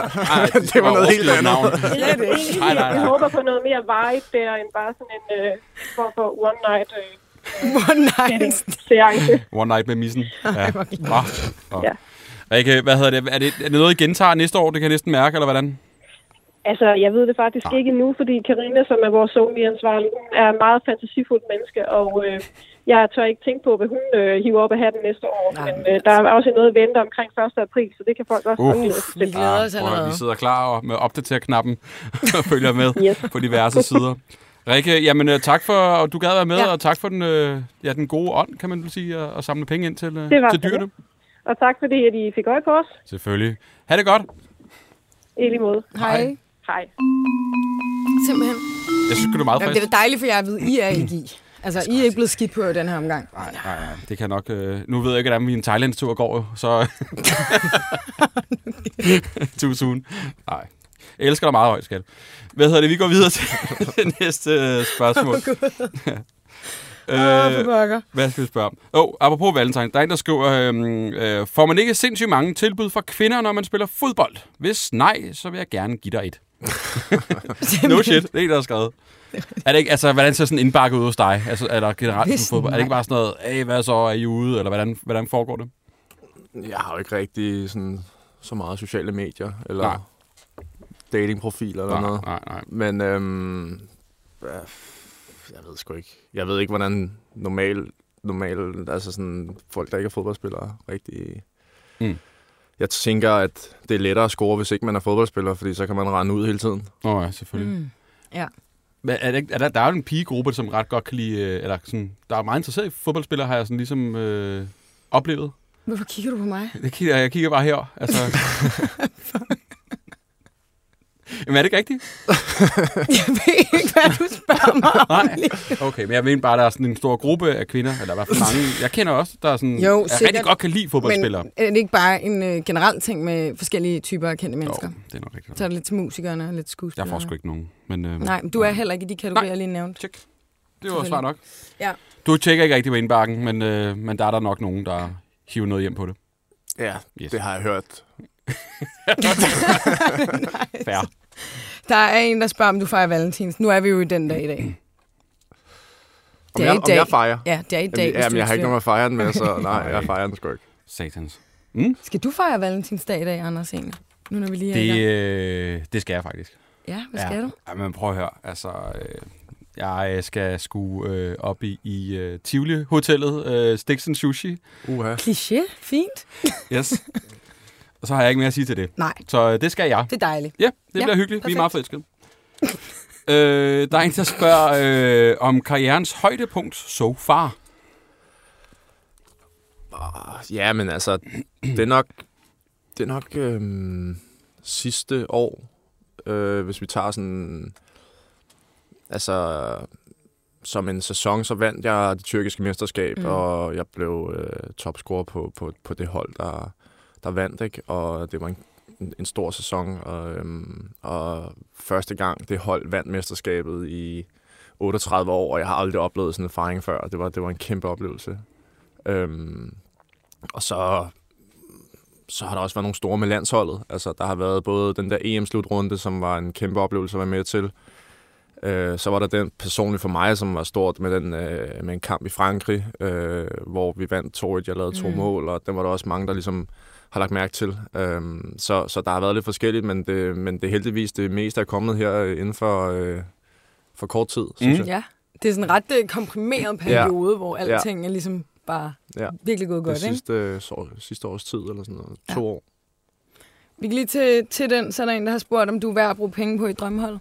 S4: det var noget helt andet.
S5: Ja, det er
S2: Nej, nej,
S5: Jeg
S2: nej.
S5: håber på noget mere vibe der, end bare sådan en øh, form for one night øh,
S7: Hvor nice.
S5: seance.
S2: One night med missen. Ja. Ah. Ah.
S5: Ja.
S2: Rikke, hvad hedder det? Er, det? er det noget, I gentager næste år? Det kan jeg næsten mærke, eller hvordan?
S5: Altså, jeg ved det faktisk ja. ikke nu, fordi Karina, som er vores zombie-ansvarlig, hun er en meget fantasifuld menneske, og øh, jeg tør ikke tænke på, hvad hun øh, hiver op af hatten næste år.
S7: Nej,
S5: Nej, men
S7: men
S5: øh, der er også noget at vente omkring 1. april, så det kan folk også
S2: Uh.
S5: uh.
S7: Vi
S5: til.
S7: glæder os
S2: Ah, prøv at høre,
S7: allerede.
S2: vi sidder klar og med opdater-knappen og følger med
S5: Yes.
S2: på diverse sider. Rikke, jamen øh, tak for, og du gad være med,
S3: Ja.
S2: ja. og tak for den, øh, ja, den gode ånd, kan man vel sige, og, og samle penge ind til, øh,
S5: Det var
S2: til
S5: så
S2: dyrene.
S5: Og tak fordi, at I fik øje på os.
S2: Selvfølgelig. Ha' det godt.
S5: I lige måde.
S7: Hej.
S5: Hej.
S7: Simpelthen.
S2: Jeg synes, du er meget
S7: Jamen, det
S2: frisk.
S7: er dejligt for jer at vide, I er ikke i. Altså, I er ikke blevet skidt på i den her omgang.
S2: Nej, nej, nej. Det kan nok... Øh, nu ved jeg ikke, hvordan min Thailand-tur går, jo, så... Too soon. Nej. Jeg elsker dig meget højt, skat. Hvad hedder det? Vi går videre til det næste øh, spørgsmål.
S3: Åh,
S2: Oh,
S3: for pokker.
S2: Hvad skal vi spørge om? Åh, oh, apropos Valentine, der er en, der skriver, øhm, øh, får man ikke sindssygt mange tilbud fra kvinder, når man spiller fodbold? Hvis nej, så vil jeg gerne give dig et. no shit, det er en, der har skrevet. Er det ikke, altså, hvordan ser sådan en indbakke ud hos dig? Altså, er der generelt
S7: Hvis
S2: på fodbold? Er det ikke bare sådan noget, hey, hvad så, er I ude? Eller hvordan, hvordan foregår det?
S4: Jeg har jo ikke rigtig sådan, så meget sociale medier, eller
S2: Nej.
S4: nej. datingprofiler eller
S2: Nej,
S4: noget.
S2: nej, nej.
S4: Men øhm, ja, jeg ved sgu ikke. Jeg ved ikke, hvordan normal, normal, altså sådan folk, der ikke er fodboldspillere, rigtig...
S2: Mm.
S4: Jeg tænker, at det er lettere at score, hvis ikke man er fodboldspiller, fordi så kan man rende ud hele tiden.
S2: Nå ja, selvfølgelig. Mm.
S7: ja.
S2: Men er, det ikke, er der, der er jo en pigegruppe, som ret godt kan lide, øh, eller sådan, der er meget interesseret i fodboldspillere, har jeg sådan ligesom øh, oplevet.
S7: Hvorfor kigger du på mig?
S2: Jeg kigger, jeg kigger bare her. Altså. Jamen, er det ikke rigtigt?
S7: Jeg ved ikke, hvad du spørger mig om.
S2: Nej. Okay, men jeg mener bare, der er sådan en stor gruppe af kvinder, eller i hvert fald mange, jeg kender også, der er sådan,
S7: Jo,
S2: er rigtig
S7: sikkert.
S2: godt kan lide fodboldspillere.
S7: Men er det ikke bare en øh, generel ting med forskellige typer af kendte
S2: Jo,
S7: mennesker? Jo.
S2: det er nok rigtigt.
S7: Så er det lidt til musikerne og lidt
S2: Jeg
S7: til skuespillere.
S2: får sgu ikke nogen. Men, øh,
S7: Nej, men du er heller ikke i de kategorier, jeg lige nævnte.
S2: Tjek. Det var svar nok.
S7: Ja.
S2: Du tjekker ikke rigtig på indbakken, men, øh, men der er der nok nogen, der hiver noget hjem på det.
S4: Ja,
S2: Yes.
S4: yes. det har jeg hørt.
S2: Fair.
S7: Der er en, der spørger, om du fejrer valentins. Nu er vi jo i den dag i dag.
S4: Om jeg, om jeg fejrer?
S7: Ja, det er i
S4: Jamen,
S7: dag. hvis
S4: jamen,
S7: du
S4: jeg har ikke
S7: siger.
S4: nogen at fejre den med, så nej, jeg fejrer den sgu ikke.
S2: Satans.
S7: Skal du fejre valentinsdag i dag, Anders, egentlig? Nu når vi lige er i
S2: Det,
S7: gang.
S2: øh, det skal jeg faktisk.
S7: Ja, hvad skal
S2: ja.
S7: du?
S2: Ja, men prøv at høre. Altså, øh, jeg øh, skal sgu øh, op i, i øh, Tivoli-hotellet, øh, Sticks and Sushi.
S4: Uha.
S7: Kliché? Fint?
S2: Yes. Og så har jeg ikke mere at sige til det.
S7: Nej,
S2: Så øh, det skal jeg.
S7: det er dejligt.
S2: Ja, det
S7: Ja,
S2: bliver hyggeligt. Vi
S7: perfekt.
S2: er meget forelskede. øh, der er en, der spørger øh, om karrierens højdepunkt so far.
S4: Ja, men altså, det er nok, det er nok øhm, sidste år, øh, hvis vi tager sådan, altså, som en sæson, så vandt jeg det tyrkiske mesterskab, mm. og jeg blev øh, topscorer på, på, på det hold, der, der vandt, ikke? og det var en, en- en stor sæson, og, øhm, og første gang det hold vandt mesterskabet i 38 år, og jeg har aldrig oplevet sådan en fejring før, det var, det var en kæmpe oplevelse. Øhm, og så, så har der også været nogle store med landsholdet. Altså, der har været både den der EM-slutrunde, som var en kæmpe oplevelse at være med til. Øh, så var der den personligt for mig, som var stort med, den, øh, med en kamp i Frankrig, øh, hvor vi vandt 2-1. Jeg lavede to mm. mål, og den var der også mange, der ligesom har lagt mærke til. Øhm, så, så der har været lidt forskelligt, men det, men det er heldigvis det meste er kommet her øh, inden for, øh, for kort tid, synes
S2: Mm.
S4: jeg.
S7: Ja. Det er sådan en ret øh, komprimeret periode, ja. hvor alting ja. er ligesom bare
S4: Ja.
S7: virkelig gået
S4: Det
S7: godt, ikke?
S4: sidste, øh, så, sidste års tid, eller sådan noget. To år.
S7: Vi kan lige til, til den, så er der en, der har spurgt, om du er værd at bruge penge på i drømmehold.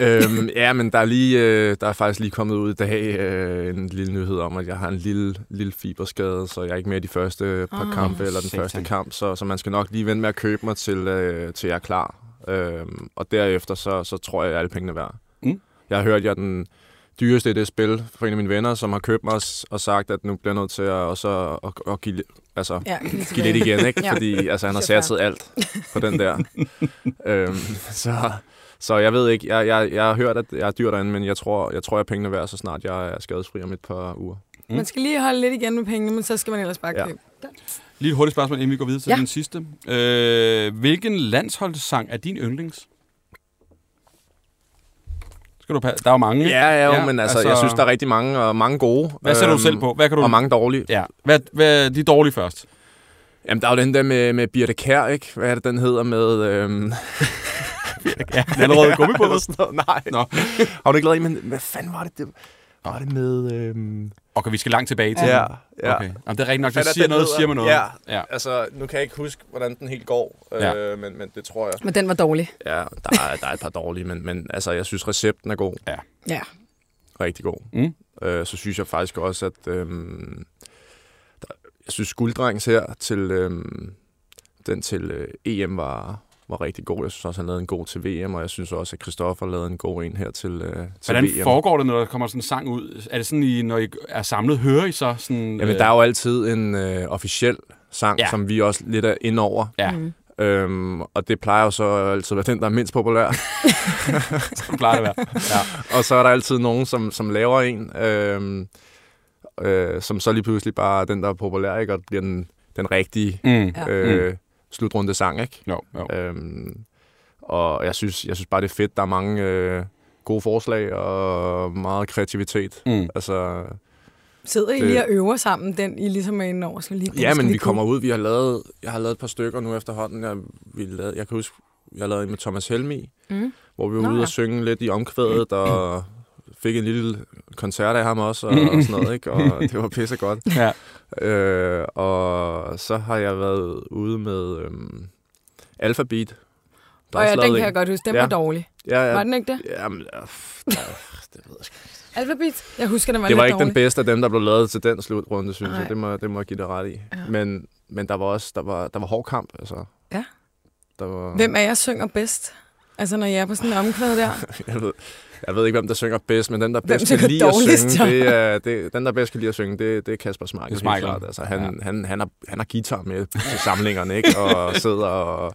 S4: øhm, ja, men der er, lige, øh, der er faktisk lige kommet ud i dag øh, en lille nyhed om, at jeg har en lille, lille fiberskade, så jeg er ikke med i de første par oh, kampe eller den
S2: Ah, satan.
S4: første kamp, så, så man skal nok lige vente med at købe mig til, øh, til jeg er klar. Øhm, og derefter, så, så tror jeg, at alle pengene er værd.
S2: Mm.
S4: Jeg har hørt, at jeg er den dyreste i det spil fra en af mine venner, som har købt mig og s- og sagt, at nu bliver jeg nødt til at, også, at, at, at give, altså,
S7: Ja,
S4: give lidt igen, ikke?
S7: Ja.
S4: ja. Fordi altså, han har
S7: Det er fair.
S4: satset alt på den der. øhm, så, så jeg ved ikke, jeg, jeg, jeg har hørt, at jeg er dyr derinde, men jeg tror, jeg, tror, jeg er pengene værd, så snart jeg er skadesfri om et par uger.
S7: Man skal lige holde lidt igen med pengene, men så skal man ellers bare
S4: Ja.
S7: købe. Ja.
S2: Lige et hurtigt spørgsmål, inden vi går videre til
S7: Ja.
S2: ja. den sidste. Øh, hvilken landsholdssang er din yndlings? Skal du pa- der er jo mange. ikke?
S4: Ja, ja, jo, ja men altså, altså, jeg synes, der er rigtig mange, og mange gode. øhm,
S2: Hvad sætter du selv på? Hvad kan du...
S4: Og mange dårlige.
S2: Ja. Hvad, hvad, de er dårlige først.
S4: Jamen, der er jo den der med, med Birte Kær, ikke? Hvad er det, den hedder med... Øhm...
S2: Ja, den allerede gummi på
S4: Eller sådan noget. Nej.
S2: Nå.
S4: Har du ikke lavet en, men hvad fanden var det? det var det med... Øhm...
S2: Okay, vi skal langt tilbage til
S4: Ja,
S2: den.
S4: ja.
S2: Okay. Jamen, det er rigtigt nok.
S8: Hvad
S2: Det
S8: er
S2: siger
S8: den
S2: noget,
S8: hedder?
S2: siger mig noget.
S8: Ja.
S2: ja.
S8: Altså, nu kan jeg ikke huske, hvordan den helt går, øh,
S2: Ja.
S8: men, men det tror jeg.
S7: Men den var dårlig.
S4: Ja, der er, der er et par dårlige, men, men altså, jeg synes, recepten er god.
S7: Ja.
S4: Rigtig god.
S2: Mm.
S4: Øh, så synes jeg faktisk også, at øhm, der, jeg synes, Gulddrengs her til øhm, den til øh, EM var, var rigtig god. Jeg synes også, han lavede en god til VM, og jeg synes også, at Christoffer lavede en god en her til, øh, til
S2: Hvordan
S4: VM.
S2: foregår det, når der kommer sådan en sang ud? Er det sådan, I, når I er samlet, hører I så sådan...
S4: Jamen,
S2: øh,
S4: der er jo altid en øh, officiel sang,
S2: Ja.
S4: ja. som vi også lidt er ind over.
S2: Ja,
S4: Øhm, og det plejer jo så altid at være den, der er mindst populær.
S2: det plejer det at være. Ja.
S4: og så er der altid nogen, som, som laver en, øhm, øh, som så lige pludselig bare er den, der er populær, ikke? og bliver den, den rigtige
S2: Mm.
S7: Ja.
S4: øh, slutrunde sang. Ikke?
S2: Jo, jo.
S4: Øhm, og jeg synes, jeg synes bare, det er fedt. Der er mange øh, gode forslag og meget kreativitet.
S2: Mm.
S4: Altså,
S7: Sidder I
S4: Det-
S7: lige og øver sammen den, I ligesom er inde over? Så lige, den
S4: ja,
S7: skal
S4: men
S7: lige
S4: vi
S7: gå.
S4: kommer ud. Vi har lavet, jeg har lavet et par stykker nu efterhånden. Jeg, vi lavede, jeg kan huske, jeg har lavet en med Thomas Helmi,
S7: Mm.
S4: hvor vi var
S7: Nå,
S4: Nå, ude
S7: ja.
S4: og synge lidt i omkvædet, og fik en lille koncert af ham også, og, og sådan noget, ikke? Og det var pissegodt.
S2: Ja.
S4: Øh, og så har jeg været ude med øhm, Alphabet.
S7: Og ja, den kan jeg godt huske. Den ja.
S4: Ja.
S7: var dårlig.
S4: Ja, ja,
S7: Var den ikke det?
S4: Jamen, ja, pff, ja, det ved jeg sgu.
S7: Alphabet? Jeg husker, den var
S4: Det
S7: lidt
S4: var ikke
S7: dårlig.
S4: den bedste af dem, der blev lavet til den slutrunde, synes
S7: Nej.
S4: jeg. Det må, det må jeg give dig ret i.
S7: Ja.
S4: Men, men der var også der var, der var hård kamp. Altså.
S7: Ja.
S4: Der var,
S7: Hvem er jeg synger bedst? Altså, når jeg er på sådan en omkvæd der.
S4: jeg, ved, jeg ved ikke, hvem der synger bedst, men den, der bedst
S7: synger
S4: kan lide at
S7: dårligst,
S4: synge,
S7: ja.
S4: det er, det, den, der bedst kan lide at synge, det, det er Kasper Smeichel.
S2: Det er
S4: helt
S2: Smeichel.
S4: klart. Altså, han,
S2: Ja.
S4: han, han, har, han har guitar med til samlingerne, ikke? Og sidder og,
S2: Og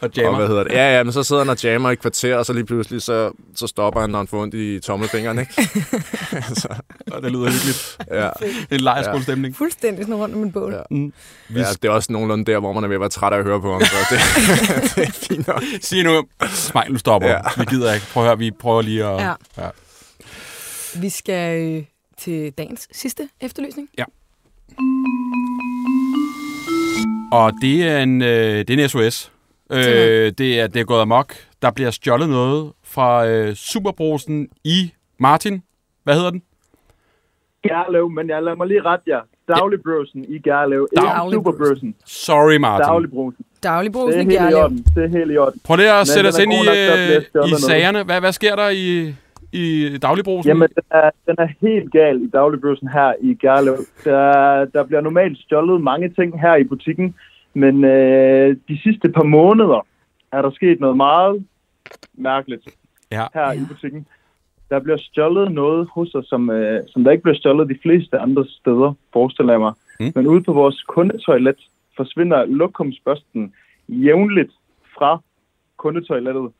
S4: Og hvad
S2: jammer.
S4: hedder det? Ja, ja, men så sidder han og jammer i et kvarter, og så lige pludselig, så, så stopper han, når han får ondt i tommelfingeren, ikke? altså,
S2: Og det lyder hyggeligt.
S4: ja.
S2: Det er en lejerskolestemning.
S7: Fuldstændig sådan rundt om en bål.
S4: Ja.
S2: Vi
S4: ja, det er også nogenlunde der, hvor man er ved at være træt af at høre på ham, så det, det er fint nok.
S2: Sig nu, smil, nu stopper. Ja.
S4: Ja.
S2: Vi gider ikke. Prøv at høre, vi prøver lige at...
S7: Ja.
S2: ja.
S7: Vi skal øh, til dagens sidste efterlysning.
S2: Og det er en, øh, det er en SOS. Øh, det, er, det er gået amok. Der bliver stjålet noget fra øh, Superbrosen i Martin. Hvad hedder den?
S6: Gerlev, men jeg lader mig lige rette jer. Dagligbrosen i Gerlev.
S7: Daglig-
S6: Ikke Superbrosen.
S2: Sorry, Martin.
S6: Dagligbrosen.
S7: Dagligbrosen
S6: Det er
S7: i
S6: helt i
S7: Gjerlev.
S6: orden. Det er helt i orden.
S2: Prøv lige at sætte
S6: den
S2: os
S6: er
S2: ind i,
S6: god nok, der bliver
S2: øh,
S6: stjålet
S2: i
S6: noget.
S2: sagerne. Hvad, hvad sker der i, i dagligbrusen?
S6: Jamen, den er, den er helt gal i dagligbrosen her i Gerlev. Der, der bliver normalt stjålet mange ting her i butikken, men øh, de sidste par måneder er der sket noget meget mærkeligt
S2: Ja.
S6: her i butikken. Der bliver stjålet noget hos os, som, øh, som der ikke bliver stjålet de fleste andre steder, forestiller jeg mig.
S2: Mm.
S6: Mm. Men ude på vores kundetoilet forsvinder lokumsbørsten jævnligt fra kundetoilettet.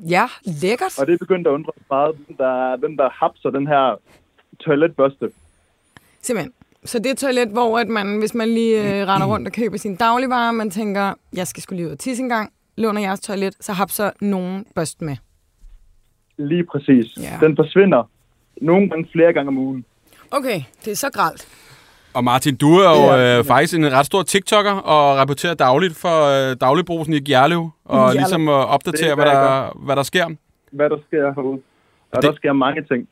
S7: Ja, lækkert.
S6: Og det begyndte at undre os meget, hvem der, hvem der hapser den her toiletbørste.
S7: Simpelthen. Så det er et toilet, hvor at man, hvis man lige øh, render rundt og køber sine dagligvarer, man tænker, jeg skal skulle lige ud og tisse en gang, låner jeres toilet, så har så nogen børst med.
S6: Lige præcis.
S7: Ja.
S6: Den forsvinder nogle gange flere gange om ugen.
S7: Okay, det er så gralt.
S2: Og Martin, du er jo øh, faktisk en ret stor TikToker og rapporterer dagligt for øh, dagligbrusen i Gjerlev, og ligesom øh, opdaterer,
S6: Det
S2: hvad
S6: gør jeg
S2: der, hvad der sker.
S6: Hvad der sker herude. Og
S2: Det-
S6: det... der sker mange ting.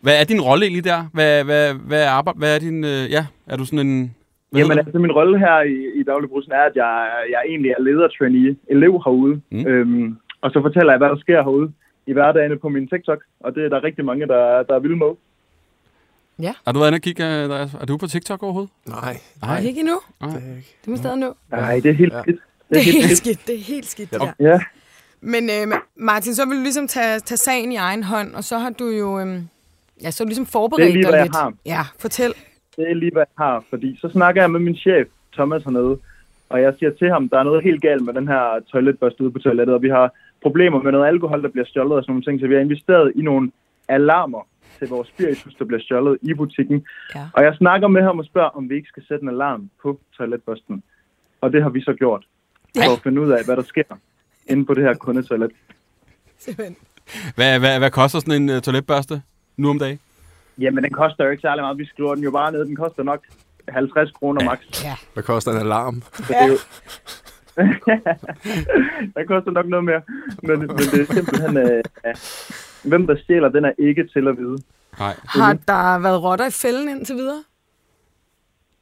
S2: Hvad er din rolle egentlig der? Hvad, hvad, hvad, er, arbejde, hvad er din... Øh, ja, er du sådan en... Hvad
S6: Jamen
S2: hedder
S6: altså, min rolle her i, i dagligbrusen er, at jeg, jeg egentlig er leder-trainee, elev herude.
S2: Mm.
S6: Mm. Øhm, og så fortæller jeg, hvad der sker herude i hverdagene på min TikTok. Og det er der rigtig mange, der, der er vilde med.
S2: det? Har du været inde og kigge? øh, Andreas? Er du på TikTok overhovedet?
S4: Nej,
S7: Nej. Ikke endnu.
S2: Nej.
S4: det er ikke.
S7: Det må stadig nå.
S6: Nej, det er helt
S4: Ja.
S6: skidt.
S7: Det er helt skidt. Det er helt skidt, det der.
S6: Ja,
S7: Men øh, Martin, så vil du ligesom tage, tage sagen i egen hånd, og så har du jo... Øh, ja, så har du ligesom forberedt
S6: Det er lige,
S7: dig
S6: hvad jeg
S7: lidt.
S6: har.
S7: Ja, fortæl.
S6: det er lige, hvad jeg har. Fordi så snakker jeg med min chef, Thomas hernede, og jeg siger til ham, der er noget helt galt med den her toiletbørste ude på toilettet, og vi har problemer med noget alkohol, der bliver stjålet og sådan nogle ting, så vi har investeret i nogle alarmer til vores spiritus, der bliver stjålet i butikken.
S7: Ja.
S6: Og jeg snakker med ham og spørger, om vi ikke skal sætte en alarm på toiletbørsten. Og det har vi så gjort, for at finde ud af, hvad der sker inde på det her kundetoilet.
S7: Simpelthen.
S2: Hvad, hvad, hvad koster sådan en øh, toiletbørste nu om dagen?
S6: Jamen, den koster jo ikke særlig meget. Vi skriver den jo bare ned. Den koster nok 50 kroner max.
S4: Hvad koster en alarm?
S6: Så det er jo... der koster nok noget mere. Men, men det er simpelthen... Øh, øh, hvem der stjæler, den er ikke til at vide.
S2: Nej.
S3: Har der været rotter i fælden indtil videre?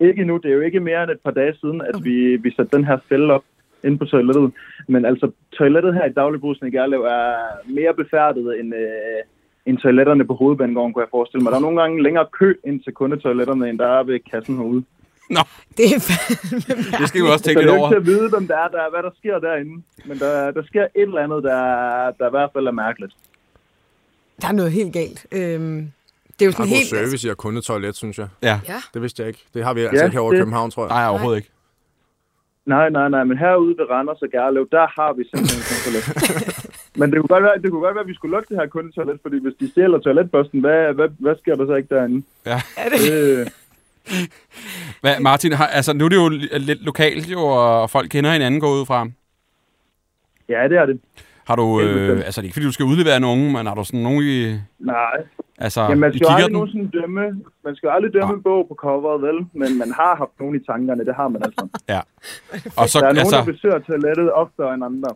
S6: Ikke endnu. Det er jo ikke mere end et par dage siden, at vi, vi satte den her fælde op inde på toilettet. Men altså, toilettet her i dagligbrusen i Gerlev er mere befærdet end, øh, end toiletterne på hovedbanegården, kunne jeg forestille mig. Der er nogle gange længere kø ind til kundetoiletterne, end der er ved kassen herude.
S3: Det er fandme
S2: Det skal vi også
S6: Så
S2: tænke
S6: det
S2: lidt
S6: er jo
S2: over.
S6: ikke til at vide, hvem der er, der, hvad der sker derinde. Men der, der sker et eller andet, der, der i hvert fald er mærkeligt.
S3: Der er noget helt galt. Øhm, det er jo sådan
S4: Meget god
S3: helt...
S4: service i at kundetoilet, synes jeg.
S2: Ja.
S4: Det vidste jeg ikke. Det har vi altså ja, ikke herovre i
S6: det-
S4: København, tror jeg.
S2: Nej, overhovedet ikke.
S6: Nej, nej, nej, men herude ved Randers og Gerlev, der har vi simpelthen en toilet. men det kunne, godt være, det kunne godt være, at vi skulle lukke det her kundetoilet, fordi hvis de stjæler toiletbørsten, hvad, hvad, hvad sker der så ikke derinde?
S2: Ja.
S6: Øh,
S2: Hvad, Martin, har, altså, nu er det jo li- lidt lokalt, jo, og folk kender hinanden går jeg ud fra.
S6: ja, det er det.
S2: Har du,
S6: Helt bestemt.
S2: øh, altså det er ikke fordi, du skal udlevere nogen, men har du sådan nogen i,
S6: Nej,
S2: altså,
S6: ja, man
S2: i
S6: skal jo aldrig
S2: kigger den? Ah.
S6: nogensinde dømme, man skal jo aldrig dømme en bog på coveret, vel? Men man har haft nogen i tankerne, det har man altså.
S2: Ja. Og så,
S6: Der er nogen, der
S2: altså,
S6: besøger toilettet oftere end andre.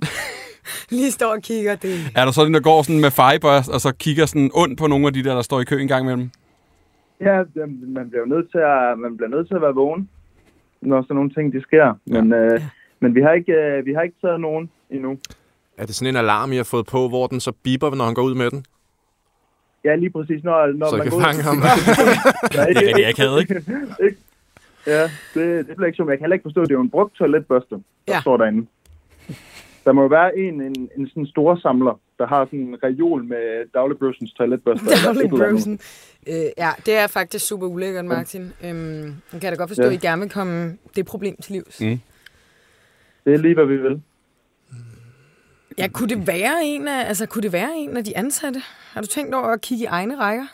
S3: Lige står og kigger, det er
S2: er der sådan, der går sådan med fejbørst, og så kigger sådan ondt på nogle af de der, der står i kø en gang imellem?
S6: Ja, det- man bliver jo nødt til at, man bliver nødt til at være vågen, når sådan nogle ting de sker. Men, øh, men vi har ikke, øh, vi har ikke taget nogen endnu.
S4: Er det sådan en alarm, I har fået på, hvor den så biber, når han går ud med den?
S6: Ja, lige præcis. Når, når
S4: så I
S6: man
S4: kan
S6: går ud-
S4: fange ham.
S6: Der er
S2: Det er
S6: ikke-
S2: rigtig akavet, ikke?
S6: Ja, det, det bliver ikke sjovt. Jeg kan heller ikke forstå, at det er jo en brugt toiletbørste, der
S3: Ja.
S6: ja. står derinde. Der må jo være en, en, en sådan stor samler, der har sådan en reol med dagligbrusens toiletbørste. eller et
S3: Dowling
S6: eller andet.
S3: Brosen. Øh, ja, det er faktisk super ulækkert, Martin. Øhm, jeg kan da godt forstå,
S6: Ja.
S3: at I gerne vil komme det problem til livs.
S2: Mm.
S3: Mm.
S6: Det er lige, hvad vi vil.
S3: Ja, kunne det, være en af, altså, kunne det være en af de ansatte? Har du tænkt over at kigge i egne rækker?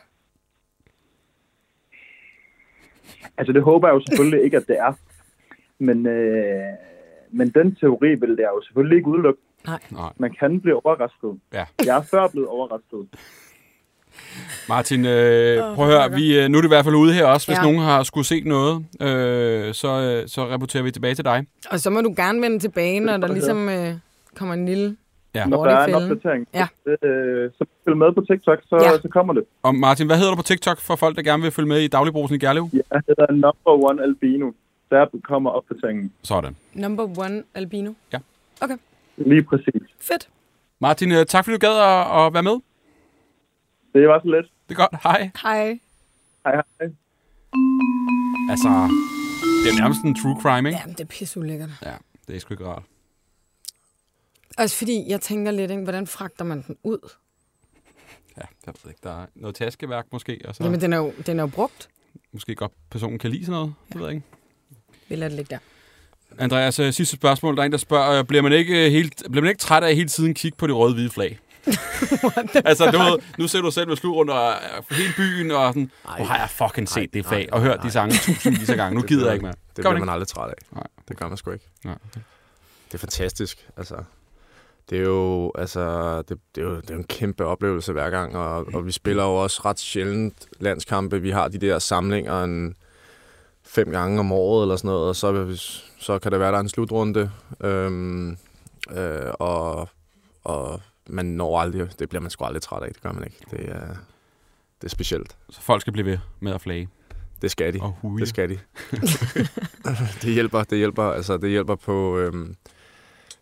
S6: Altså, det håber jeg jo selvfølgelig ikke, at det er. Men, øh, men den teori vil jeg jo selvfølgelig ikke udelukke.
S2: Nej.
S6: Man kan blive overrasket.
S2: Ja.
S6: Jeg er før blevet overrasket.
S2: Martin, øh, prøv at høre, vi, øh, nu er det i hvert fald ude her også. Hvis
S3: Ja.
S2: nogen har skulle set noget, øh, så, øh, så rapporterer vi tilbage til dig.
S3: Og så må du gerne vende tilbage, når der ligesom øh, kommer en lille...
S2: Ja.
S6: Når der er en
S3: Mortefælden.
S6: opdatering,
S3: Ja.
S6: øh, så følg med på TikTok, så,
S3: Ja.
S6: ja. så kommer det.
S2: Og Martin, hvad hedder du på TikTok for folk, der gerne vil følge med i dagligbrusen i Gerlev?
S6: Jeg hedder Number One Albino. Der kommer opdateringen.
S2: Sådan.
S3: Number one albino.
S6: Lige præcis.
S3: Fedt.
S2: Martin, øh, tak fordi du gad at, at være med.
S6: Det var så let.
S2: Det er godt. Hej.
S3: Hej.
S6: Hej, hej.
S2: Altså, det er nærmest en true crime, ikke?
S3: Jamen, det er pisse ulækkert.
S2: Ja, det er sgu ikke rart.
S3: Også fordi, jeg tænker lidt, ikke, hvordan fragter man den ud?
S2: Ja, jeg ved ikke. Der er noget taskeværk måske, og så
S3: Jamen, den er jo, den er jo brugt.
S2: måske godt personen kan lide sådan noget. Det ved jeg ikke.
S3: Vi lader det ligge der.
S2: Andreas, øh, sidste spørgsmål. Der er en, der spørger, øh, bliver man ikke, øh, helt, bliver man ikke træt af hele tiden at kigge på det røde-hvide flag? altså, du ved, nu ser du selv med slutrunden og øh, hele byen, og sådan, hvor har jeg fucking set det flag, og hørt de sange tusindvis af gange. Nu gider jeg ikke mere.
S4: Det
S2: Gør
S4: bliver
S2: man
S4: man
S2: ikke?
S4: aldrig træt af.
S2: Nej.
S4: Det gør man sgu ikke.
S2: Nej.
S4: Det er fantastisk. Altså, det er jo, altså, det, det er jo det er jo en kæmpe oplevelse hver gang, og, og vi spiller jo også ret sjældent landskampe. Vi har de der samlinger en, fem gange om året eller sådan noget, og så, er vi- så kan det være, der er en slutrunde. Øhm, øh, og, og man når aldrig, det bliver man sgu aldrig træt af, det gør man ikke. Det er, det er specielt.
S2: Så folk skal blive ved med at flage
S4: Det skal de.
S2: og huje.
S4: Det skal de. det hjælper, det hjælper, altså det hjælper på, øhm,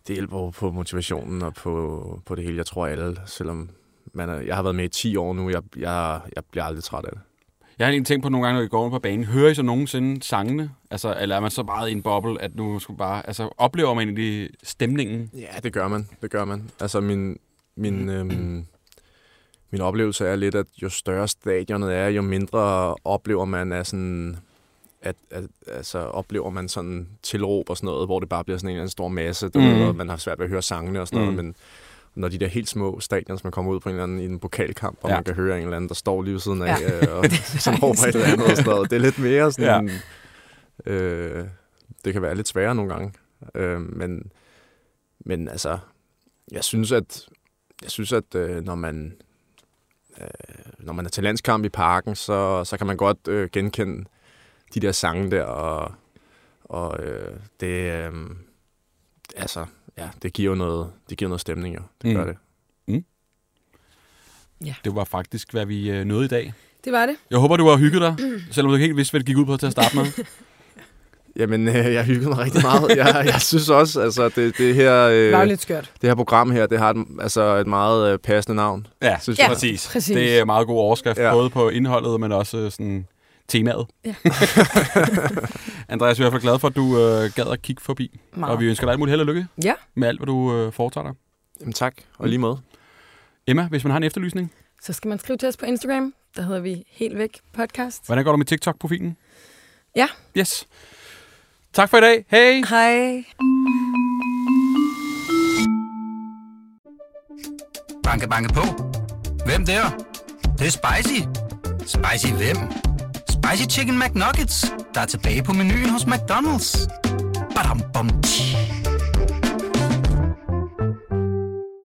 S4: det hjælper jo på motivationen og på, på det hele. Jeg tror alle, selvom man er, jeg har været med i 10 år nu, jeg, jeg, jeg bliver aldrig træt af det.
S2: Jeg har egentlig tænkt på nogle gange, når vi går rundt på banen, hører I så nogensinde sangene? Altså, eller er man så meget i en boble, at nu skal bare... Altså, oplever man egentlig stemningen?
S4: Ja, det gør man, det gør man. Altså min, min, øhm, min oplevelse er lidt, at jo større stadionet er, jo mindre oplever man af sådan at, at, altså, oplever man sådan tilråb og sådan noget, hvor det bare bliver sådan en eller anden stor masse, du
S2: Mm.
S4: ved, og man har svært ved at høre sangene og sådan noget,
S2: Mm.
S4: men når de der helt små stadion, som man kommer ud på en eller anden i en pokalkamp, og
S2: Ja.
S4: ja. man kan høre en eller anden, der står lige ved siden
S3: Ja.
S4: af, ja. øh, og som råber et eller andet og sådan noget. Det er lidt mere sådan... Ja. Øh, det kan være lidt sværere nogle gange. Øh, men, men altså, jeg synes, at, jeg synes, at øh, når man øh, når man er til landskamp i parken, så, så kan man godt øh, genkende de der sange der, og, og øh, det, øh, altså, ja, det giver jo noget, det giver noget stemning, jo. Det gør
S2: Mm.
S4: det.
S2: Det var faktisk, hvad vi øh, nåede i dag.
S3: Det var det.
S2: Jeg håber, du har hygget dig,
S4: Mm.
S2: selvom du ikke helt vidste, hvad det gik ud på til at starte med.
S4: Jamen, øh, jeg hyggede mig rigtig meget. Jeg, jeg synes også, altså, det, det her... Øh,
S3: Det var jo lidt skørt.
S4: det her program her, det har et, altså et meget øh, passende navn.
S2: Ja,
S4: Synes
S2: ja
S4: jeg.
S2: præcis.
S3: præcis.
S2: Det er meget god overskrift, ja.
S4: Ja.
S2: både på indholdet, men også øh, sådan temaet. Ja. Andreas, vi er i hvert fald glade for, at du øh, gad at kigge forbi.
S3: Meget.
S2: Og vi ønsker dig alt muligt held og lykke
S3: Ja.
S2: med alt, hvad du øh, foretager dig.
S4: Jamen tak, og lige med.
S2: Emma, hvis man har en efterlysning,
S3: Så skal man skrive til os på Instagram. Der hedder vi Helt Væk Podcast.
S2: hvordan går du med TikTok-profilen?
S3: Ja.
S2: Yes. Tak for i dag. Hej.
S3: Hej.
S1: Banke, banke på. Hvem der? Det, det er spicy. Spicy hvem? Spicy Chicken McNuggets, der er tilbage på menuen hos McDonald's. Badum, bom, tji.